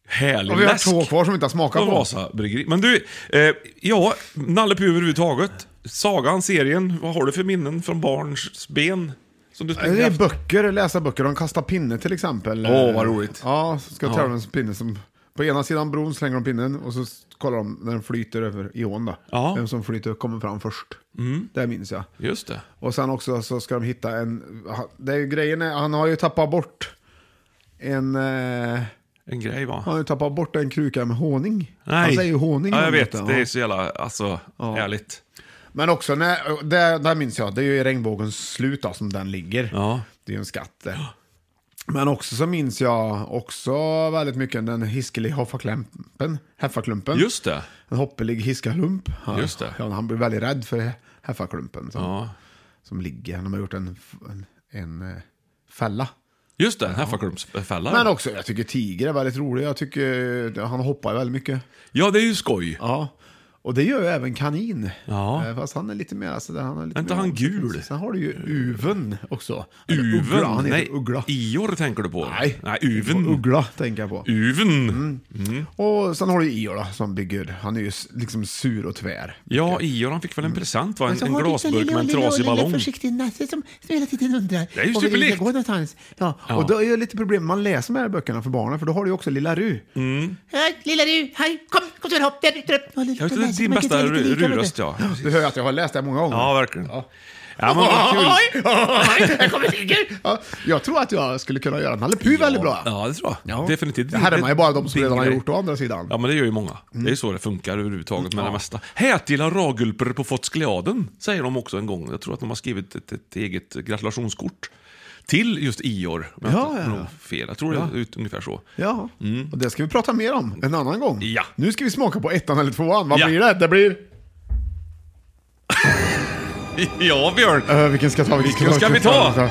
härlig
Och vi har
läsk.
två kvar som inte har smakat
på
på.
Vasa Bryggeri. Men du, eh, ja, Nalle Puh överhuvudtaget. Sagan, serien, vad har du för minnen från barns ben? Som du
Det
springer
är
efter?
böcker, läsa böcker. De kastar pinne till exempel. Eh,
Åh, vad roligt.
Ja, så ska
Ja.
jag tävla med en pinne som... På ena sidan bron slänger de pinnen och så s- kollar de när den flyter över i ån. då.
Ja. Mm.
Vem som flyter kommer fram först. Det minns jag.
Just det.
Och sen också så ska de hitta en... ha- Det är ju grejen är, han har ju tappat bort en... Eh,
En grej va?
han har ju tappat bort en kruka med honung.
Nej.
Han säger ju honung.
Ja, jag
om
vet.
detta,
Det är
ja.
så jävla, alltså, ärligt.
Men också, när, där, där minns jag, det är ju i regnbågens slut då, som den ligger.
Ja.
Det är ju en skatt där. Men också så minns jag också väldigt mycket den hiskelig haffaklumpen. Heffaklumpen.
Just det.
En hoppelig hiskalump. Ja,
Just det.
Ja, han blir väldigt rädd för heffaklumpen som,
Ja.
som ligger. De har gjort en, en, en eh, fälla.
Just det, Häffarklumpsfällan.
Men också, jag tycker tiger är väldigt rolig. Jag tycker eh, han hoppar väldigt mycket.
Ja, det är ju skoj.
Ja. Och det gör ju även kanin.
Ja.
Eh, Fast han är lite mer sådär. Han är lite
Är inte
mer-
han gul?
Sen har du ju uven också. Eller
Uven?
Uggla, han heter
Nej,
Uggla.
Ior tänker du på?
Nej.
Nej, Uven.
Uggla Mm. tänker jag på.
Uven.
Och sen har du Ior då, som blir gud. Han är ju s- liksom sur och tvär.
Ja, Ior han fick väl
Mm.
en present va? En, en
har du
glasburk
lilla,
med en
lilla,
trasig
lilla
ballong.
försiktig nasse som, som hela tiden undrar.
Det är ju
om vi
superlikt.
ska gå någonstans.
Ja,
Ja.
och då är ju lite problem. Man läser med de här böckerna för barnen, för då har du ju också Lilla Ru.
Mm.
Hej, lilla du, hej, kom, kom till hopp, där ute upp.
Jag vet inte, din bästa ru- ruröst ja.
Du hör ju att jag har läst det här många gånger.
Ja, verkligen. Ja, men vad kul.
Oj, oj, här kommer Tiger.
Ja, jag tror att jag skulle kunna göra Nalle Puh väldigt bra.
Ja, det tror jag.
Ja.
Definitivt.
Det härmar ju bara de som
Din
redan har
grej.
gjort å andra sidan.
Ja, men det gör ju många. Det är
Mm.
ju så det funkar överhuvudtaget med det mesta. Hätila ragulper på Fotskleaden, säger de också en gång. Jag tror att de har skrivit ett, ett eget gratulationskort. Till just Ior, om jag
Ja,
inte
ja,
har
ja.
fel. Jag tror det är ut, ungefär så.
Ja, och det ska vi prata mer om en annan gång.
Mm. Ja.
Nu ska vi smaka på ettan eller tvåan. Vad
Ja.
blir det? Det blir...
Ja, Björn!
Uh, vilken ska jag ta?
Vilken ska vi ta?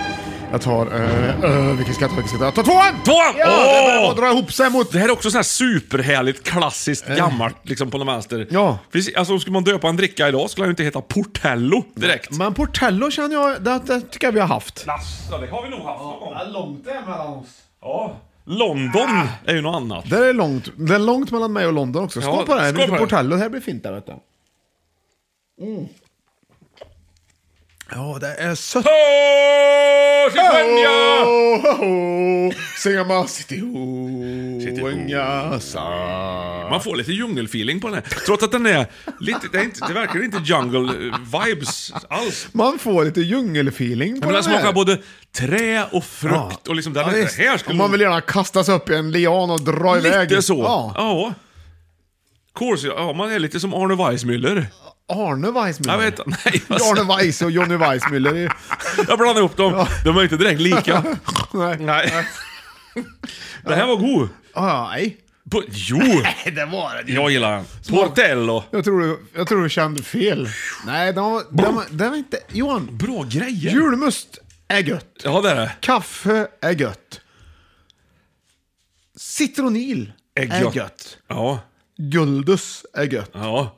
Jag tar... eh, eh, vilken ska jag ta? Vilken ska jag ta? Ta tvåan!
Tvåan!
Ja, det är bra
Åh!
att dra ihop sig mot...
Det här är också sån här superhärligt klassiskt gammalt liksom på något vänster.
Ja.
Precis, alltså skulle man döpa en dricka idag skulle den ju inte heta Portello direkt.
Men Portello känner jag, det, det tycker jag vi har haft.
Lasse, det har vi nog haft någon gång.
långt det är mellan oss.
Ja. London
Äh.
är ju något annat.
Det är långt, det är långt mellan mig och London också. Skål
Ja,
på det här.
skål
Skål
på det.
Portello, det här blir fint där vet du. Mm. Ja, det är sött.
Åh, champagne!
ho, Singama city ho,
City ho.
Nyasa.
Man får lite djungelfeeling på den här. Trots att den är lite, det, är inte, det verkar inte jungle-vibes alls.
Man får lite djungelfeeling på
Men den
här.
smakar både trä och frukt och liksom den
Ja,
är
visst.
här skulle
Och man vill gärna kastas upp i en lian och dra
lite
iväg.
så.
Ja.
Ja. ja. Kors, ja, man är lite som Arne Weissmuller.
Arne Weissmuller.
Jag vet, nej. vad sa-
Arne Weiss och Johnny Weissmuller. är-
Jag blandade ihop dem. De är inte direkt lika.
Nej.
Nej. Det här var god.
Nej.
På, jo!
Nej, det var det ju.
Jag gillar den. Portello.
Jag tror, du, jag tror du kände fel. Nej, den var, den var, den var inte... Johan.
Bra grejer.
Julmust är gött.
Ja, det är det.
Kaffe är gött. Citronil
Är gött. Ja.
Guldus är gött.
Ja.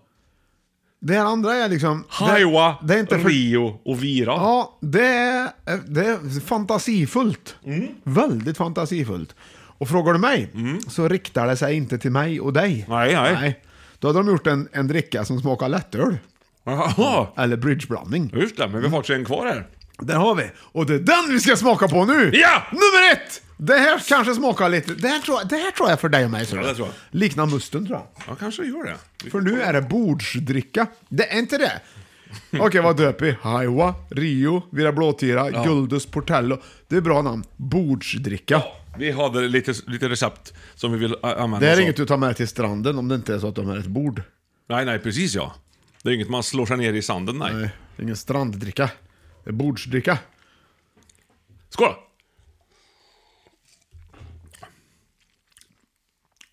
Det här andra är liksom...
Haiwa,
det, det är inte för,
Rio och Vira.
Ja, det är, det är fantasifullt.
Mm.
Väldigt fantasifullt. Och frågar du mig så riktar det sig inte till mig och dig.
Nej, nej.
Då hade de gjort en, en dricka som smakar lättöl.
Jaha.
Eller bridgeblandning.
Just det, men vi har faktiskt en kvar här.
Där har vi. Och det är den vi ska smaka på nu!
Ja!
Nummer ett! Det här kanske smakar lite... Det här tror jag, det här tror jag är för dig och mig.
Ja, det tror
jag. Liknar musten tror jag.
Ja, kanske gör det.
För
Vi får
nu
kolla.
är det bordsdricka. Det är inte det. Okej, vad döper vi? Haiwa, Rio, Vira Blåtira, Guldus, Portello. Det är bra namn. Bordsdricka.
Vi hade lite, lite recept som vi vill ä, använda
Det
oss
är
av.
inget du tar med till stranden om det inte är så att de är ett bord.
Nej, nej, precis ja. Det är inget man slår sig ner i sanden, nej.
Nej, det är ingen stranddricka. Det är bordsdricka.
Skål!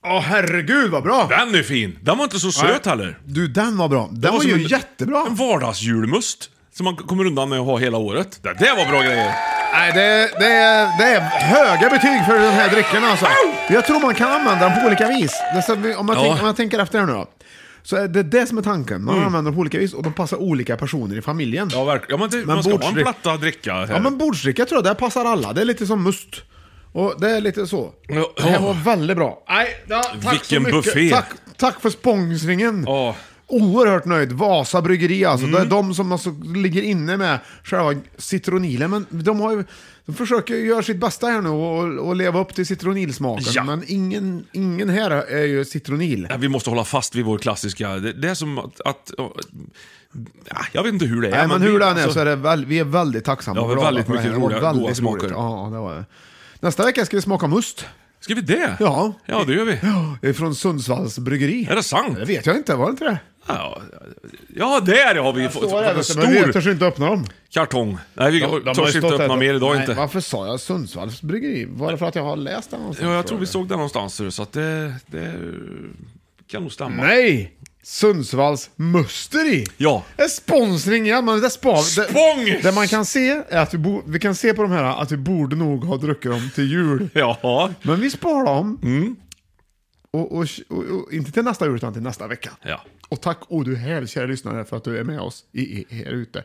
Åh herregud vad bra!
Den är fin! Den var inte så söt heller.
Du, den var bra. Den var,
som
ju
en-
jättebra.
En vardagsjulmust. Som man kommer undan med att ha hela året. Det där var bra grejer!
Nej, det, det, är- det är höga betyg för den här drycken alltså. Jag tror man kan använda den på olika vis. Det är så, vi- om, jag
Ja.
tänk, om jag tänker efter här nu då. Så är det det som är tanken. Man använder den på olika vis och de passar olika personer i familjen.
Mm. Ja, verkligen. Ja, men det, man ska ha en
bordsdryck-
platta att dricka här.
Ja, men bordsdricka tror jag, där passar alla. Det är lite som must. Och det är lite så.
Ja.
Det här var väldigt bra. Nej, ja, tack
Vilken
så mycket.
buffé.
Tack, tack för sponsringen.
Ja. Mm.
Oerhört nöjd. Vasa Bryggeri alltså. Det är de som alltså ligger inne med själva citronilen. Men de, har ju, de försöker ju göra sitt bästa här nu och, och leva upp till citronilsmaken.
Ja.
Men ingen, ingen här är ju citronil.
Ja, Vi måste hålla fast vid vår klassiska... Det, det är som att... att ja, jag vet inte hur det är.
Nej, men hur
vi-
den är
alltså-
så är det väl, vi är väldigt tacksamma
Ja,
och
vi är
glada
väldigt
för det
mycket
här. Och
roliga, goda
väldigt roligt.
smaker.
Ja, det var det. Nästa vecka ska vi smaka must.
Ska vi det?
Ja.
Ja, det gör vi.
Det är Från Sundsvalls bryggeri.
Är det sant?
Det vet jag inte, var det inte det?
Ja, ja, där har vi fått fått en
Men vi
stor
törs inte öppna dem.
kartong. Nej, vi törs inte öppna mer idag inte.
Varför sa jag Sundsvalls bryggeri? Var det för att jag har läst det någonstans?
Ja, jag tror vi såg den någonstans, så att det, det kan nog stämma.
Nej! Sundsvalls Musteri!
Ja.
En sponsring igen, men det spar... Det,
Spång!
det man kan se är att vi, bo, vi kan se på de här att vi borde nog ha druckit dem till jul.
Ja. Mm.
Men vi sparar dem. Och, och, och, och inte till nästa jul, utan till nästa vecka.
Ja.
Och tack o du här, kära lyssnare, för att du är med oss i, i, här ute.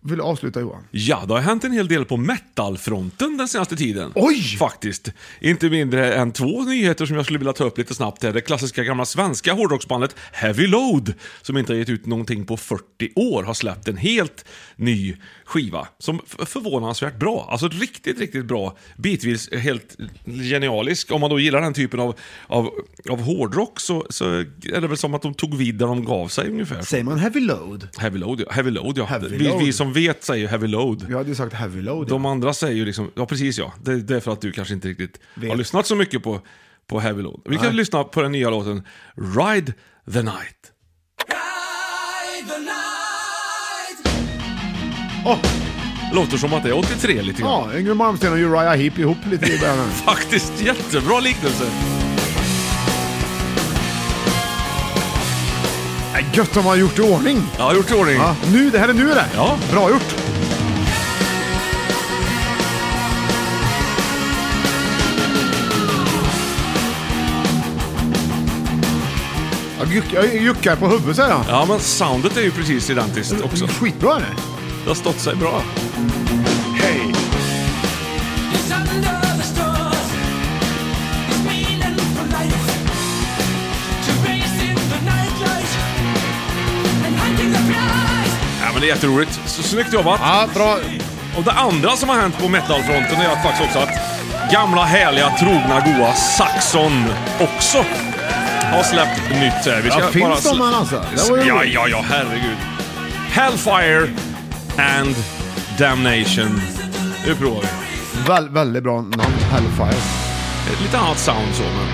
Vill du avsluta Johan?
Ja, det har hänt en hel del på metalfronten den senaste tiden.
Oj!
Faktiskt. Inte mindre än två nyheter som jag skulle vilja ta upp lite snabbt här. Det klassiska gamla svenska hårdrocksbandet Heavy Load, som inte har gett ut någonting på 40 år, har släppt en helt ny skiva. Som f- förvånansvärt bra. Alltså riktigt, riktigt bra. Bitvis helt genialisk. Om man då gillar den typen av, av, av hårdrock så, så är det väl som att de tog vid där de gav sig ungefär.
Säger man heavy load?
Heavy Load, ja. Heavy load, ja.
Heavy
vi,
Load.
vi som vet säger ju Heavy Load.
Jag hade ju sagt heavy load.
De andra säger ju liksom, ja precis ja, det, det är för att du kanske inte riktigt har lyssnat så mycket på, på Heavy Load. Vi kan lyssna på den nya låten Ride the Night.
Åh!
Låter som att det är 83 lite grann.
Ja, Yngwie Malmsteen och Uriah Heep ihop lite i början. här.
Faktiskt jättebra liknelse.
Nej, Gött de har gjort i ordning!
Jag har gjort i ordning.
Ja, nu, det här är nu det!
Ja.
Bra gjort! Jag, juck, jag juckar på huvudet säger jag.
Ja men soundet är ju precis identiskt också.
Skitbra är det!
Det har stått sig bra.
Hej!
Ja men det är jätteroligt. Så, snyggt jobbat.
Ja, bra.
Och det andra som har hänt på metalfronten är att faktiskt också att gamla härliga trogna goa Saxon också har släppt nytt. här. Vi
Ja, finns de här alltså? Det var ju
Ja,
roligt.
ja, ja, herregud. Hellfire and Damnation. Nu provar vi.
Väl, väldigt bra namn, Hellfire.
Ett Eh, Lite annat sound så, men...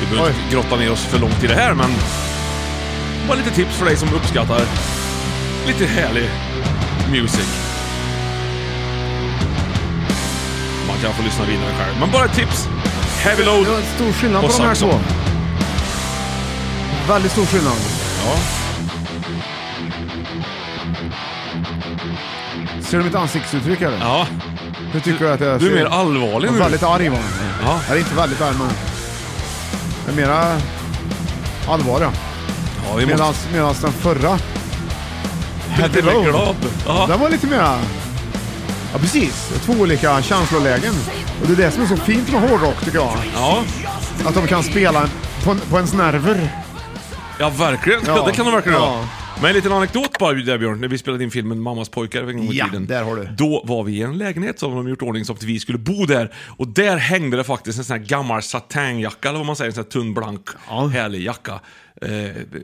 Vi behöver inte grotta ner oss för långt i det här, men... Bara lite tips för dig som uppskattar lite härlig music. Man kan få lyssna vidare själv, men bara ett tips. Heavy Load
Det var stor skillnad
och
på de här
Saxon.
två. Väldigt stor skillnad.
Ja.
Ser du mitt ansiktsuttryck eller?
Ja.
Hur tycker du att jag
Du är
ser
mer
ut?
allvarlig
Jag
nu.
är Väldigt arg var jag.
Ja.
Jag är inte väldigt arg men... Jag är mera allvarlig.
Ja, vi måste...
Medan medans den förra... Typ
Lite mer glad. Ja.
Den var lite mera... Ja precis, två olika känslolägen. Och det är det som är så fint med hårdrock tycker jag.
Ja.
Att de kan spela en- på, en- på ens nerver.
Ja, verkligen.
Ja.
Det kan de verkligen
Ja.
göra. Men en liten anekdot bara där Björn, när vi spelade in filmen Mammas pojkar en gång i
Ja,
tiden.
där har du.
Då var vi i en lägenhet som de gjort i ordning som att vi skulle bo där. Och där hängde det faktiskt en sån här gammal satinjacka, eller vad man säger, en sån här tunn blank, härlig jacka. Eh,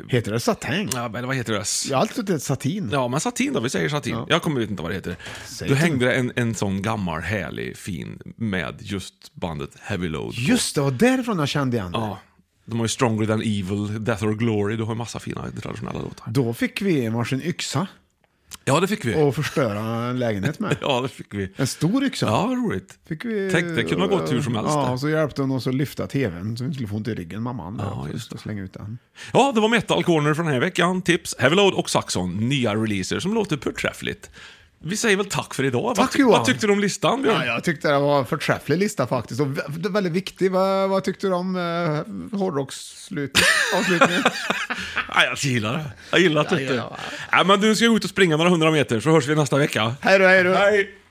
heter det satin?
Ja, men vad heter det? S-
Jag har alltid trott det är satin.
Ja, men satin då, vi säger satin.
Ja.
Jag kommer vet inte vad det heter.
Säg
Då
det.
hängde det en, en sån gammal, härlig, fin med just bandet Heavy Load.
Just det, var därifrån jag kände igen det.
Ja. De har ju Stronger Than Evil, Death or Glory, du har ju massa fina traditionella låtar.
Då fick vi varsin yxa
Ja, det fick vi.
och förstöra en lägenhet med.
Ja, det fick vi.
En stor yxa.
Ja, vad roligt.
Fick vi,
Tänk, det kunde ha gått hur som helst.
Ja,
där.
och så hjälpte hon oss att lyfta tvn så vi inte skulle få ont i ryggen, mamman. Ja, just det. Slänga ut den.
Ja, det var Metal Corner för den här veckan. Tips, Heavy Load och Saxon. Nya releaser som låter förträffligt. Vi säger väl tack för idag. vad,
Tack,
ty-
Johan.
vad tyckte du om listan, Björn?
Ja, jag tyckte det var en förträfflig lista faktiskt. Och vä- det är väldigt viktig. Vad, vad tyckte du om eh, hårdrocksavslutningen?
Ja, jag gillar det. Jag gillar att
Ja,
du inte...
ja,
Ja, men du ska gå ut och springa några hundra meter, så hörs vi nästa vecka.
hej då, hej då.
Hej.